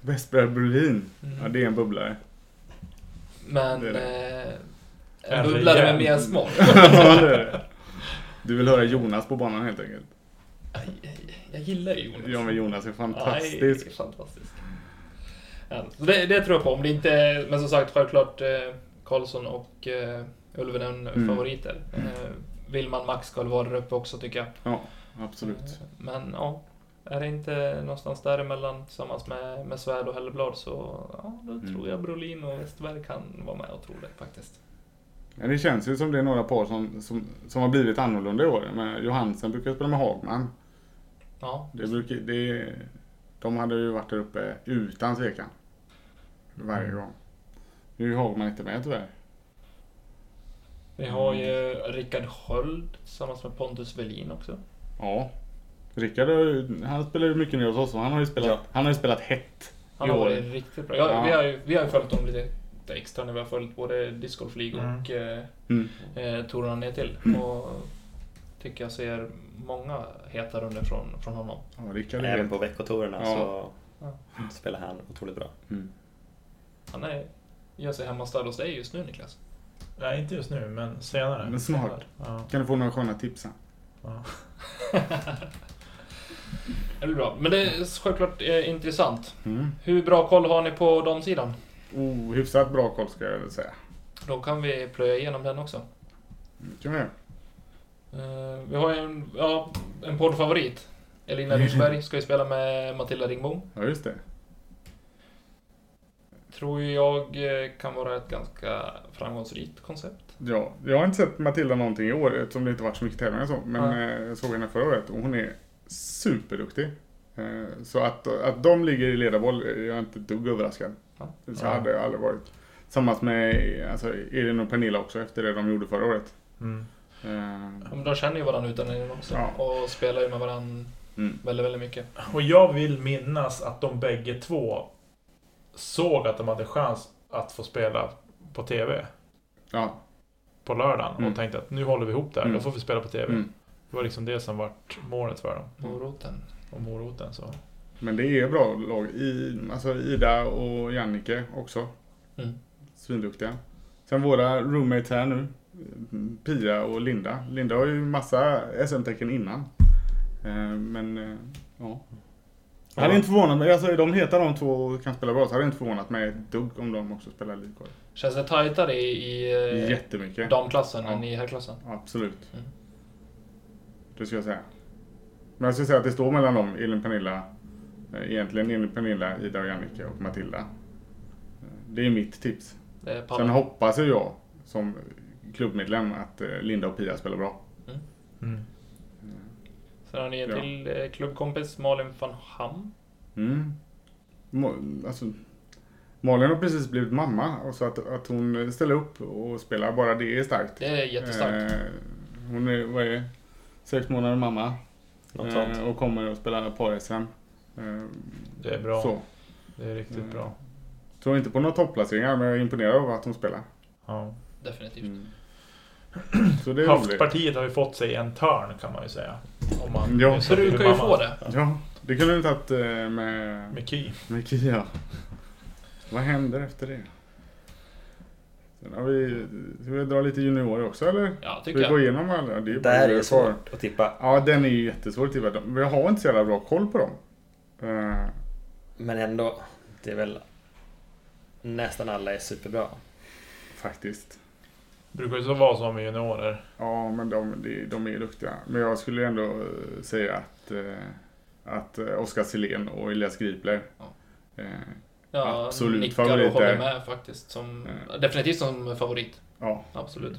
S2: Vesper Berlin.
S3: Mm.
S2: Ja, det är en bubblare. [LAUGHS]
S3: Men...
S2: Det är
S3: Eh, en
S5: En
S3: bubblare med
S5: rejäl-
S3: mer
S2: [LAUGHS]
S3: smak.
S2: Ja, det är det. du vill höra Jonas på banan helt enkelt.
S3: Aj, aj, Jag gillar ju Jonas.
S2: Ja men Jonas är
S3: Aj, det är
S2: fantastisk.
S3: fantastisk. Ja, så det, det tror jag på. Om det inte är, men som sagt, självklart eh, Karlsson och eh, Ulvenen
S2: Mm.
S3: favoriter. Eh, vill man Max ska vara där uppe också tycker jag.
S2: Ja, absolut.
S3: Eh, Men ja, är det inte någonstans däremellan tillsammans med, med Svärd och Helleblad så ja, då
S2: Mm.
S3: tror jag Brolin och Westberg kan vara med och tro det faktiskt.
S2: Men det känns ju som det är några par som, som, som har blivit annorlunda i år. Men Johansen brukar spela med Hagman.
S3: Ja,
S2: Det brukar, det, de hade ju varit där uppe utan tvekan. Varje gång. Nu är ju Hagman inte med tyvärr.
S3: vi har
S2: Mm.
S3: ju Rickard Sköld tillsammans med Pontus Velin också.
S2: Ja. Rickard har ju- han spelar ju mycket ner hos oss och han har ju spelat,
S4: Ja.
S2: han har ju spelat hett.
S3: Han
S2: i
S3: har
S2: år.
S3: varit riktigt bra. Jag,
S2: Ja.
S3: vi, har ju, vi har ju följt dem lite extra när vi har följt både Discolf League och eh,
S2: Mm.
S3: eh, Torarna ner till. Och tycker jag ser många heta runder från, från honom.
S2: Ja, Rickard är
S4: Även
S2: helt...
S4: på veckotorerna
S2: Ja.
S4: så spelar han otroligt bra.
S2: Mm.
S3: Han är, gör sig hemmastad hos dig just nu Niklas.
S5: Nej, inte just nu, men senare.
S2: Men snart.
S5: Ja.
S2: Kan du få några sköna tips sen?
S5: Ja.
S3: Det blir bra. Men det är självklart eh, intressant.
S2: Mm.
S3: Hur bra koll har ni på de sidan?
S2: Oh, hyfsat bra koll ska jag väl säga.
S3: Då kan vi plöja igenom den också.
S2: Mm, Kan vi göra.
S3: Eh, vi har ju en, ja, en poddfavorit. Elina
S2: Mm.
S3: Rydberg ska ju spela med Matilda Ringbom.
S2: Ja, just det.
S3: Tror ju jag eh, kan vara ett ganska framgångsrikt koncept.
S2: Ja, jag har inte sett Matilda någonting i år eftersom det inte varit så mycket tävlingar och så. Men
S3: Nej.
S2: eh, jag såg henne förra året och hon är superduktig. Eh, Så att, att de ligger i ledarboll, eh, jag är inte ett dugg överraskad. Så
S5: Ja.
S2: hade jag aldrig varit. Tillsammans med alltså, Elin och Pernilla också efter det de gjorde förra året.
S5: Mm.
S2: Eh,
S3: Ja, men de känner ju varandra utan in också.
S2: Ja.
S3: Och spelar ju med varandra
S2: Mm.
S3: väldigt, väldigt mycket.
S5: Och jag vill minnas att de bägge två såg att de hade chans att få spela på TV
S2: Ja,
S5: på lördagen
S2: Mm.
S5: och tänkte att nu håller vi ihop det här,
S2: Mm.
S5: då får vi spela på TV.
S2: mm.
S5: Det var liksom det som vart målet för dem.
S3: Moroten.
S5: Och moroten så.
S2: Men det är bra lag. I, alltså Ida och Jannike också.
S3: Mm.
S2: Svinduktiga. Sen våra roommates här nu. mm, Pia och Linda. Linda har ju massa SM-tecken innan. Eh, Men eh, ja. Jag hade
S5: Ja.
S2: inte förvånat mig. Alltså, är de heter de två och kan spela bra så hade jag inte förvånat mig ett dugg om de också spelar lillkorg.
S3: Känns det tajtare i, i eh,
S2: Jättemycket.
S3: damklassen
S2: Ja.
S3: än i herrklassen?
S2: Absolut.
S3: Mm.
S2: Det skulle jag säga. Men jag skulle säga att det står mellan dem, Elin Pernilla, eh, egentligen Elin Pernilla, Ida och Jannike och Matilda. Eh, Det är mitt tips.
S3: Det är
S2: Sen
S3: pallen.
S2: hoppas ju jag som klubbmedlem att eh, Linda och Pia spelar bra.
S5: Mm.
S3: Sen har ni en
S2: Ja.
S3: till eh, klubbkompis, Malin van Ham.
S2: Mm. Mo- Alltså, Malin har precis blivit mamma och så att, att hon ställer upp och spelar, bara det är starkt.
S3: Det är jättestarkt.
S2: Eh, Hon är, vad är det? Sex månader mamma.
S4: Något
S2: Eh,
S4: sånt.
S2: och kommer att spela par-SM. Eh,
S5: Det är bra.
S2: Så.
S5: Det är riktigt
S2: Mm.
S5: bra.
S2: Tror inte på några topplaceringar men jag är imponerad av att hon spelar.
S5: Ja.
S3: Definitivt.
S2: Så det är roligt.
S5: Haftpartiet har ju fått sig en törn kan man ju säga. Om man
S2: Ja.
S5: just
S3: Du
S5: har
S3: brukar ju
S5: blivit
S3: få
S5: mamma.
S3: det.
S2: Ja, det kunde du tagit eh, med,
S5: Med Ky.
S2: med Kia. Vad händer efter det? Sen har vi, ska vi dra lite juniorer också eller?
S3: Ja,
S2: Ska
S3: tycker
S2: vi gå
S3: jag.
S2: igenom alla? Det är ju bara
S4: Där är
S2: juniorer
S4: det
S2: kvar.
S4: svårt att tippa.
S2: Ja, den är ju jättesvår att tippa. Vi har inte så jävla bra koll på dem. Eh,
S4: Men ändå, det är väl nästan alla är superbra.
S2: faktiskt.
S5: Brukar ju så vara så med juniorer.
S2: Ja, men de, de, de är ju duktiga. Men jag skulle ändå eh, säga att, eh, att eh, Oskar Silén och Elias Gripler
S3: Ja.
S2: eh,
S3: Ja,
S2: Absolut
S3: nickar
S2: favorit
S3: och håller
S2: där.
S3: med faktiskt. Som,
S2: Mm.
S3: Definitivt som favorit.
S2: Ja,
S3: Absolut.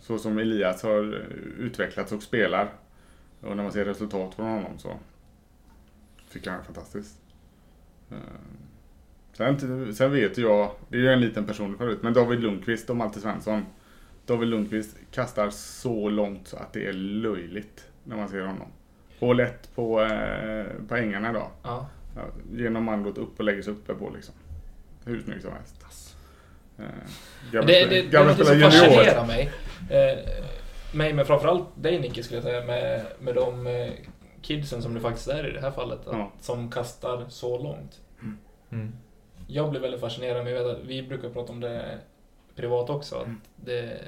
S2: så som Elias har utvecklats och spelar. Och när man ser resultat från honom så tycker jag han är fantastisk. Eh, Sen, sen vet ju jag, det är ju en liten person förut, men David Lundqvist och Malte Svensson. David Lundqvist kastar så långt så att det är löjligt när man ser honom. Hål 1 på, eh, på ängarna idag.
S3: Ja.
S2: Ja, Genom mandot upp och lägger sig uppe på liksom. Hur snyggt som helst. Eh,
S3: Alltså. Men
S2: Gamla
S3: Det,
S2: spe-
S3: det, det är
S2: gamla
S3: något som
S2: spelare junior.
S3: fascinerar mig. Eh, mig, men framförallt dig Nicke skulle jag säga, med, med de eh, kidsen som det faktiskt är i det här fallet. Att,
S2: Ja.
S3: Som kastar så långt.
S5: Mm.
S3: Jag blir väldigt fascinerad, men jag vet att vi brukar prata om det privat också.
S2: Mm.
S3: Att det,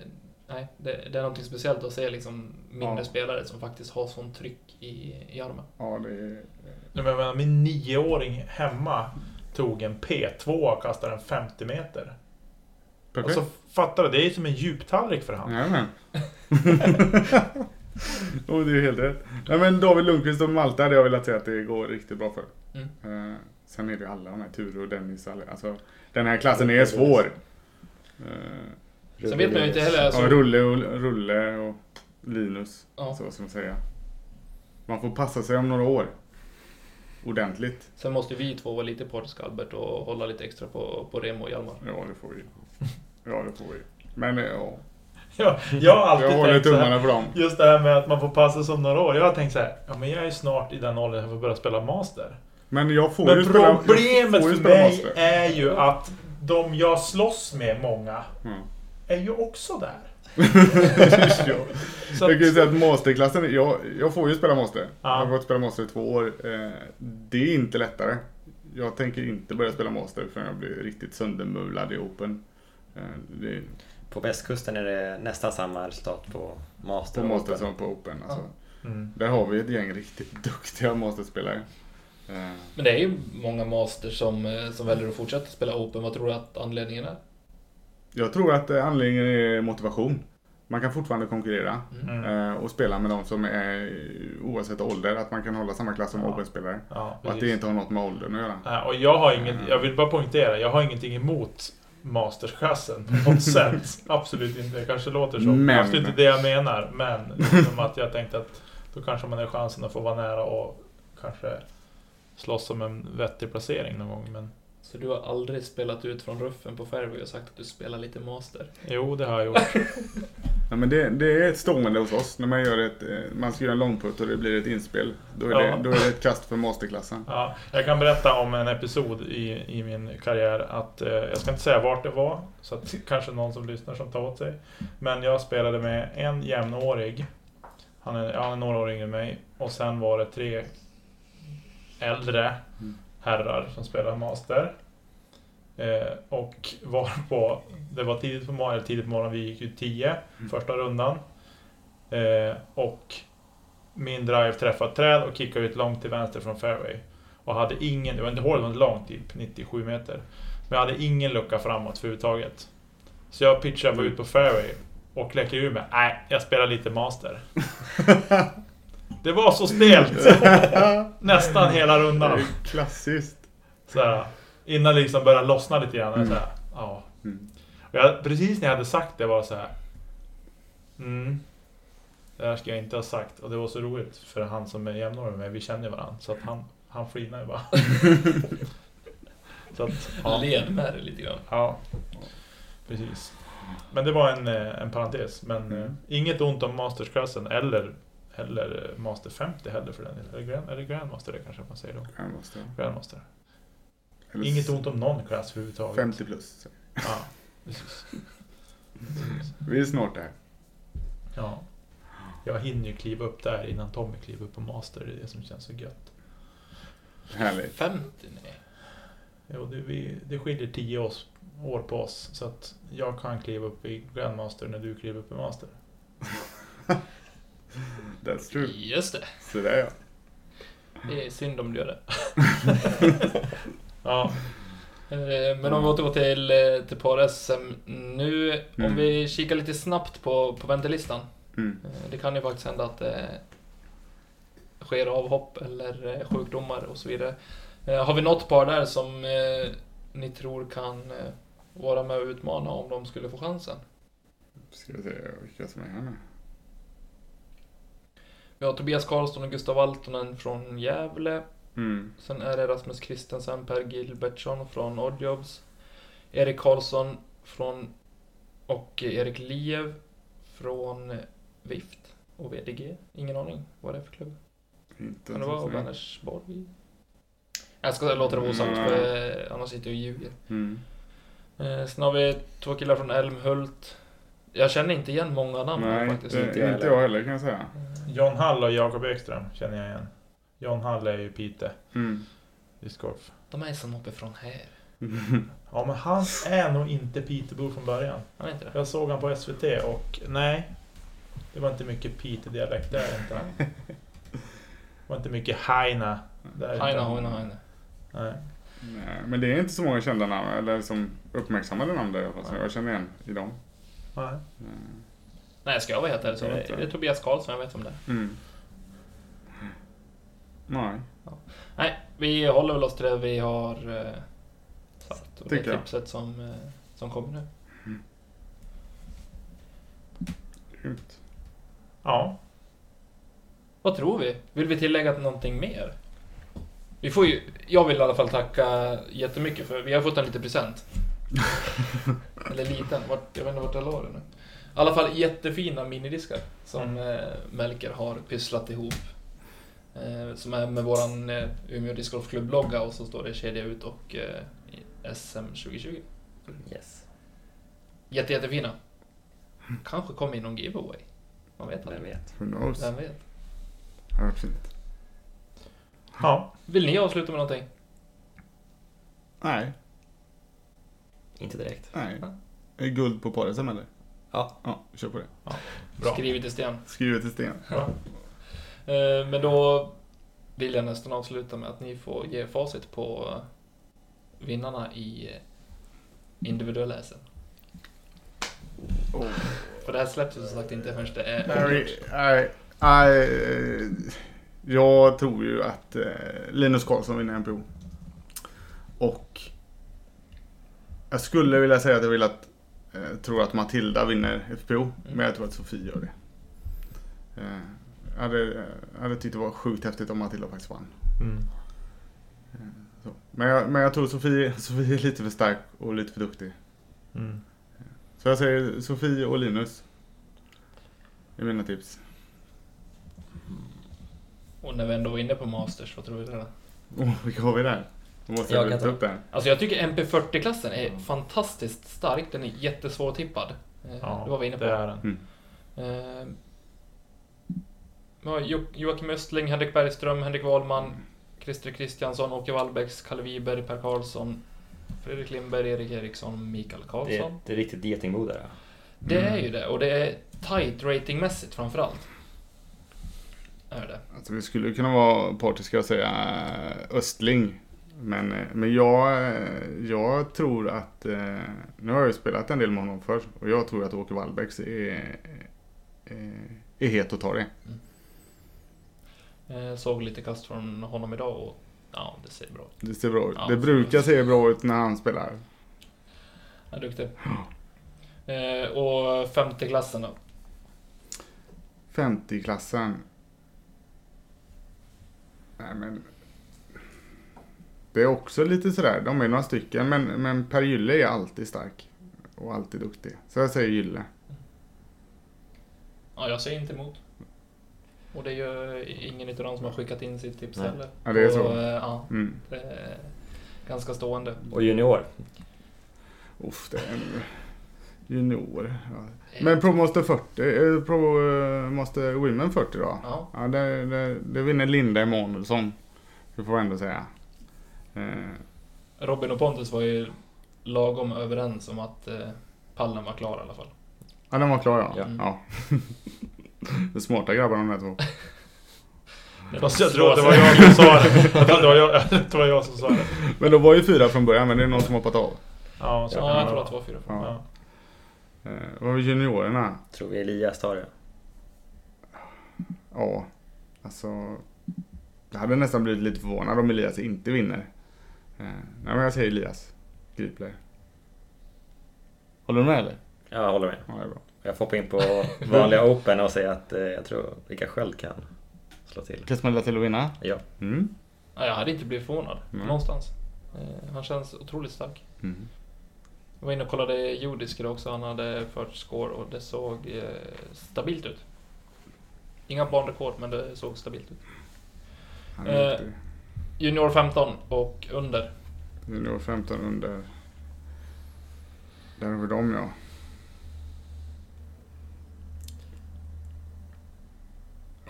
S3: nej, det, det är något speciellt att se liksom mindre
S2: Ja.
S3: spelare som faktiskt har sån tryck i, i armen.
S2: Ja, det är...
S5: Jag menar, min nioåring hemma tog en P2 och kastade den 50 meter. Och
S2: Perfekt.
S5: så fattar du, det är ju som en djuptallrik för [LAUGHS]
S2: [LAUGHS]
S5: han.
S2: Jajamän. oh, det är helt rätt. Nej, men David Lundqvist och Malte hade jag velat säga att det går riktigt bra för. Eh, sen är det ju alla de här, Ture och Dennis. alla- Alltså, den här klassen är svår. Eh,
S3: Sen vet man ju inte heller.
S2: ja,
S3: Alltså,
S2: Rulle, och, Rulle och Linus.
S3: ja.
S2: Så vad ska man säga. Man får passa sig om några år. Ordentligt.
S3: Sen måste vi två vara lite partiska Albert och hålla lite extra på, på Remo och Hjalmar.
S2: Ja, det får vi. Ja, det får vi. Men eh, ja,
S5: Ja, jag har alltid
S2: jag håller
S5: tänkt så här,
S2: tummarna för dem.
S5: Just det här med att man får passa som några år. Jag har tänkt så här, ja men jag är snart i den åldern att jag får börja spela master.
S2: Men jag får ju
S5: Men
S2: spela, jag
S5: problemet
S2: får ju
S5: för
S2: spela
S5: mig
S2: master.
S5: är ju att de jag slåss med, många,
S2: Mm.
S5: är ju också där.
S2: Ja.
S5: Så
S2: Jag
S5: att,
S2: kan ju säga att masterklassen, jag, jag får ju spela master.
S5: Ja.
S2: Jag har fått spela master i två år. Eh, Det är inte lättare. Jag tänker inte börja spela master förrän jag blir riktigt söndermulad i Open. Eh, Det är
S4: På västkusten är det nästan samma resultat på Master.
S2: på
S4: och
S2: master
S4: Open.
S2: som på Open. Alltså.
S5: mm,
S2: Där har vi ett gäng riktigt [LAUGHS] duktiga masterspelare. Eh,
S3: Men det är ju många masters som, eh, som väljer att fortsätta spela Open. Vad tror du att anledningen är?
S2: Jag tror att eh, anledningen är motivation. Man kan fortfarande konkurrera
S5: mm,
S2: eh, och spela med de som är oavsett ålder, att man kan hålla samma klass som
S5: Ja.
S2: Open-spelare.
S5: ja,
S2: Och att det
S5: precis.
S2: inte har något med åldern att göra.
S5: Nej, Och jag har inget, jag vill bara poängtera, jag har ingenting emot mastersklassen på
S2: [LAUGHS]
S5: något sätt. Absolut inte, det kanske låter så.
S2: Men-
S5: Men. Absolut inte det jag menar, men liksom att jag tänkte att då kanske man har chansen att få vara nära och kanske slåss om en vettig placering någon gång. Men
S3: Så du har aldrig spelat ut från ruffen på fairway och sagt att du spelar lite master?
S5: jo, det har jag gjort.
S2: Nej, men det, det är ett stående hos oss när man gör ett, eh, man ska göra en långputt och det blir ett inspel. Då är,
S5: Ja.
S2: det, då är det ett kast för masterklassen.
S5: Ja, jag kan berätta om en episod i, i min karriär. Att, eh, jag ska inte säga vart det var, så att [LAUGHS] kanske någon som lyssnar som tar åt sig. Men jag spelade med en jämnårig. Han är, ja, han är några år yngre än mig. Och sen var det tre äldre
S2: Mm.
S5: herrar som spelade master. Eh, och var på, det var tidigt på morgonen, tidigt på morgonen, vi gick ju 10
S2: Mm.
S5: första rundan. Eh, och min drive träffade ett träd och kickade ut långt till vänster från fairway. Och hade ingen, det var inte hål, det var inte långt, typ 97 meter. Men jag hade ingen lucka framåt överhuvudtaget. Så jag pitchade bara ut på fairway och kläcker ur mig. Nej, jag spelar lite master. det var så stelt! Nästan hela
S2: Det är
S5: rundan.
S2: ju klassiskt.
S5: Såhär, innan det liksom började lossna lite grann.
S2: Mm.
S5: Såhär, ja.
S2: Mm.
S5: Och jag, precis när jag hade sagt det var så här. Mm. Det här ska jag inte ha sagt. Och det var så roligt för han som är jämnårig med mig, vi känner ju varandra. Så att han, han flinade ju bara. så att, ja.
S3: Led med det lite grann.
S5: ja. Precis. Men det var en, eh, en parentes. Men
S2: Mm.
S5: eh, inget ont om mastersklassen eller, eller eh, master 50 heller för den delen. Eller grand, eller grandmaster det kanske man säger då.
S2: Ja, det måste jag.
S5: Grandmaster.
S2: Eller
S5: Inget ont om någon klass överhuvudtaget.
S2: 50 plus.
S5: Ja, precis. Precis.
S2: Vi är snart där.
S5: Ja. Jag hinner ju kliva upp där innan Tommy kliver upp på master, det är det som känns så gött.
S2: Härligt.
S3: 50? Nej.
S5: Jo, det, vi, det skiljer 10 års, år på oss, så att jag kan kliva upp i grandmaster när du kliver upp i master.
S2: That's true.
S3: Just det.
S2: Så där ja.
S3: Det är synd om du gör det.
S5: Ja,
S3: Eh, Men om vi återgår till, eh, till par-SM nu. Om
S2: Mm.
S3: vi kikar lite snabbt på, på väntelistan.
S2: Mm.
S3: Eh, Det kan ju faktiskt hända att det sker avhopp eller eh, sjukdomar och så vidare. Eh, Har vi något par där som eh, ni tror kan eh, vara med och utmana om de skulle få chansen?
S2: Ska vi se vilka som är här nu.
S3: Vi har Tobias Karlsson och Gustav Altonen från Gävle.
S2: Mm.
S3: Sen är det Rasmus Kristensen, Per Gilbertsson från Oddjobs, Erik Karlsson från och Erik Liev från VIFT och VDG. Ingen aning vad det är för klubb.
S2: Inte
S3: Kan
S2: ens
S3: det vara
S2: så snäll.
S3: Vänersborg? Jag ska låta det vara osagt
S2: Mm.
S3: för eh, annars sitter jag och ljuger.
S2: Mm.
S3: Eh, Sen har vi två killar från Älmhult. Jag känner inte igen många namn här
S2: Nej,
S3: faktiskt.
S2: inte,
S4: inte
S2: inte
S4: jag
S2: jag heller kan jag säga.
S5: John Hall och Jakob Ekström känner jag igen. John Hall är ju Pite
S2: Mm. [LAUGHS]
S5: discgolf.
S3: De är som uppifrån här.
S5: Ja, men han är nog inte Pitebo från början.
S3: Han är inte det?
S5: Jag såg han på SVT och nej, det var inte mycket Pite-dialekt där inte. Det var inte mycket Haina där inte.
S3: Heine, Heine, Heine.
S5: Nej.
S2: Nej, men det är inte så många kända namn, eller som uppmärksammade namn där i alla fall, som jag känner igen i dem.
S5: Nej.
S3: Nej, ska jag vara helt ärlig så
S2: Jag
S3: är
S2: vet
S3: det,
S2: inte.
S3: det är Tobias Karlsson, jag vet om det är.
S2: Mm. Nej.
S3: Nej, vi håller väl oss till det vi har eh, sagt. Och det
S2: Tycker jag.
S3: tipset som, eh, som kommer nu.
S2: Grymt.
S5: Ja,
S3: Vad tror vi? Vill vi tillägga någonting mer? Vi får ju, jag vill i alla fall tacka jättemycket för vi har fått en liten
S4: [LAUGHS]
S3: present. Eller liten, vart, jag vet inte vart jag la det nu. I alla fall jättefina minidiskar som
S4: Mm.
S3: eh, Melker har pysslat ihop. Eh, som är med våran eh, Umeå Discgolfklubb-logga och så står det Kedja ut och eh, SM 2020.
S4: Yes.
S3: Jätte, jättefina. Kanske kommer in någon giveaway. Man vet
S4: Vem
S3: aldrig.
S4: vet?
S2: Who knows? Det
S3: Vem vet?
S2: har varit fint.
S5: ja.
S3: Vill ni avsluta med någonting?
S2: Nej.
S4: Inte direkt.
S2: Nej. Är det guld på parisen eller?
S4: Ja.
S2: Ja, kör på det.
S5: Bra.
S3: Skrivet i sten.
S2: Skrivet i sten.
S3: Eh, Men då vill jag nästan avsluta med att ni får ge facit på eh, vinnarna i eh, individuella SM.
S2: Oh.
S3: För det här släpps ju som sagt inte förrän det är
S2: Nej,
S3: avgjort.
S2: nej, nej, eh, jag tror ju att eh, Linus Karlsson vinner NPO. Och jag skulle vilja säga att jag vill att, eh, tror att Matilda vinner FPO, men jag tror att Sofie gör det. Eh, jag hade, jag hade tyckt det var sjukt häftigt om Matilda faktiskt vann.
S5: Mm.
S2: Eh, Så. Men, jag, men jag tror Sofie, [LAUGHS] Sofie är lite för stark och lite för duktig.
S5: Mm.
S2: Så jag säger Sofie och Linus. Det är mina tips.
S3: Och när vi ändå var inne på Masters, vad tror vi där?
S2: Oh, [LAUGHS] vilka har vi där? Då måste
S4: Jag
S2: jag,
S4: kan
S2: jag
S4: ta.
S2: ta upp den.
S3: Alltså jag tycker MP40-klassen
S5: Mm.
S3: är fantastiskt stark. Den är jättesvårtippad. Eh,
S5: Ja,
S3: det var vi inne på.
S5: Det är den.
S2: Mm.
S3: Eh, ja, Jo- Joakim Östling, Henrik Bergström, Henrik Wahlman, Christer Kristiansson, Åke Wallbäcks, Kalle Wiberg, Per Karlsson, Fredrik Lindberg, Erik Eriksson, Mikael
S6: Det
S3: Karlsson.
S6: är, det är riktigt getingbo där. ja.
S3: Det är ju det, och det är tight ratingmässigt framförallt. Är det.
S2: Alltså, vi skulle kunna vara partiska och säga eh, Östling. Men, eh, men jag, eh, jag tror att, eh, nu har jag ju spelat en del med honom förr och jag tror att Åke Wallbäcks är, är, är het att ta det.
S3: Eh, Såg lite kast från honom idag och ja, det ser bra ut.
S2: Det ser bra ut.
S3: Ja.
S2: det brukar se bra ut när han spelar.
S3: Han är duktig. Eh, Och femteklassen då?
S2: 50-klassen. Nej men. Det är också lite sådär, de är några stycken men, men Per Gylle är alltid stark. Och alltid duktig. Så jag säger Gylle.
S3: Ja, jag säger inte emot. Och det är ju ingen utav dem som har skickat in sitt tips
S6: Nej.
S3: heller.
S2: Ja, det är så.
S3: Och, eh, ja,
S2: Mm.
S3: det är ganska stående.
S6: Och junior.
S2: Uff, det är en junior. Ja. Men Pro Master 40, eh, Pro eh, Master Women 40 då?
S3: Ja.
S2: Ja, det, det, det vinner Linda Emanuelsson. Det får jag ändå säga. Eh,
S3: Robin och Pontus var ju lagom överens om att eh, pallen var klar i alla fall.
S2: Ja, den var klar ja.
S6: Ja.
S2: ja. [LAUGHS] det är smarta grabbar de där två.
S5: Fast jag tror att det var jag som sa det.
S3: [LAUGHS]
S5: Jag tror att det var jag, jag, tror att det var jag som sa det.
S2: Men de var ju fyra från början, men det är någon som hoppat av.
S5: Ja, så kan
S3: Ja, jag tror
S5: vara.
S3: att det var fyra.
S2: Ja.
S5: Ja.
S2: Eh, Vad var juniorerna?
S4: Tror vi Elias tar det.
S2: Ja, alltså. Jag hade nästan blivit lite förvånad om Elias inte vinner. Eh, Nej, men jag säger Elias Gripler. Håller du med eller?
S4: Jag håller med.
S2: Ja, det är bra.
S4: Jag får
S2: [LAUGHS]
S4: hoppa in på vanliga Open och säga att eh, jag tror Rickard Sköld kan slå till.
S2: Kan smälla till och vinna?
S4: Ja.
S2: Mm.
S3: Ja, jag hade inte blivit förvånad.
S2: Nej.
S3: Någonstans. Eh, han känns otroligt stark.
S2: Mm.
S3: Jag var inne och kollade judisk idag också. Han hade fört score och det såg eh, stabilt ut. Inga banrekord, men det såg stabilt ut.
S2: Han är
S3: Eh.
S2: duktig.
S3: Junior 15 och under.
S2: Junior 15 under. Där har vi dem ja.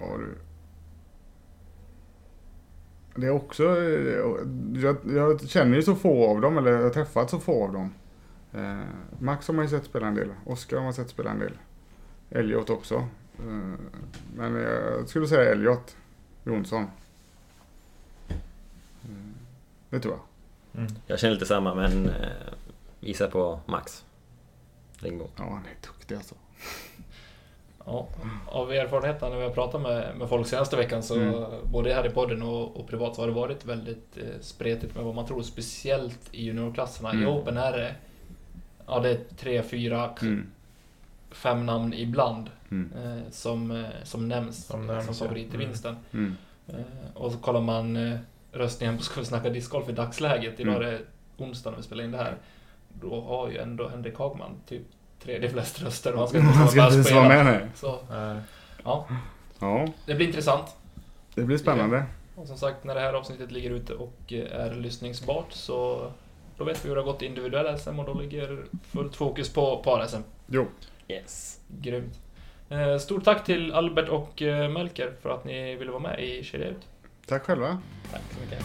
S2: Ja du. Det är också, eh, jag, jag känner ju så få av dem, eller jag har träffat så få av dem. Eh, Max har man ju sett spela en del, Oskar har man sett spela en del. Elliot också. Eh, men jag skulle säga Elliot Jonsson. Eh, det tror jag.
S5: Mm.
S4: Jag känner lite samma men eh, gissar på Max Ringbo.
S2: Ja, han är duktig alltså.
S3: Ja, av erfarenheten när vi har pratat med, med folk senaste veckan så
S2: Mm.
S3: både här i podden och, och privat så har det varit väldigt eh, spretigt med vad man tror. Speciellt i juniorklasserna. I
S2: Mm.
S3: Open är det, ja, det är tre, fyra, k- fem namn ibland
S2: Mm.
S3: eh, som, eh, som nämns
S5: Som
S3: som,
S5: nämns, ja.
S3: favorit i
S5: Mm.
S3: vinsten.
S2: Mm.
S3: Eh, och så kollar man eh, röstningen på Ska vi snacka discgolf i dagsläget. Idag
S2: Mm.
S3: är det onsdag när vi spelar in det här. Då har ju ändå Henrik Hagman typ tredje flest röster och han ska inte
S2: [LAUGHS] Han
S3: ens
S2: ska
S3: vara
S2: inte
S3: med och
S2: ens vara
S3: spela.
S2: med nej.
S3: Så
S5: Nej.
S3: ja,
S2: Ja,
S3: det blir intressant.
S2: det blir spännande.
S3: Och som sagt, när det här avsnittet ligger ute och eh, är lyssningsbart så då vet vi hur det har gått i individuell SM och då ligger fullt fokus på par-SM.
S2: Jo,
S4: Yes.
S3: Grymt. Eh, Stort tack till Albert och eh, Melker för att ni ville vara med i Kedja Ut.
S2: tack själva.
S4: Tack så mycket.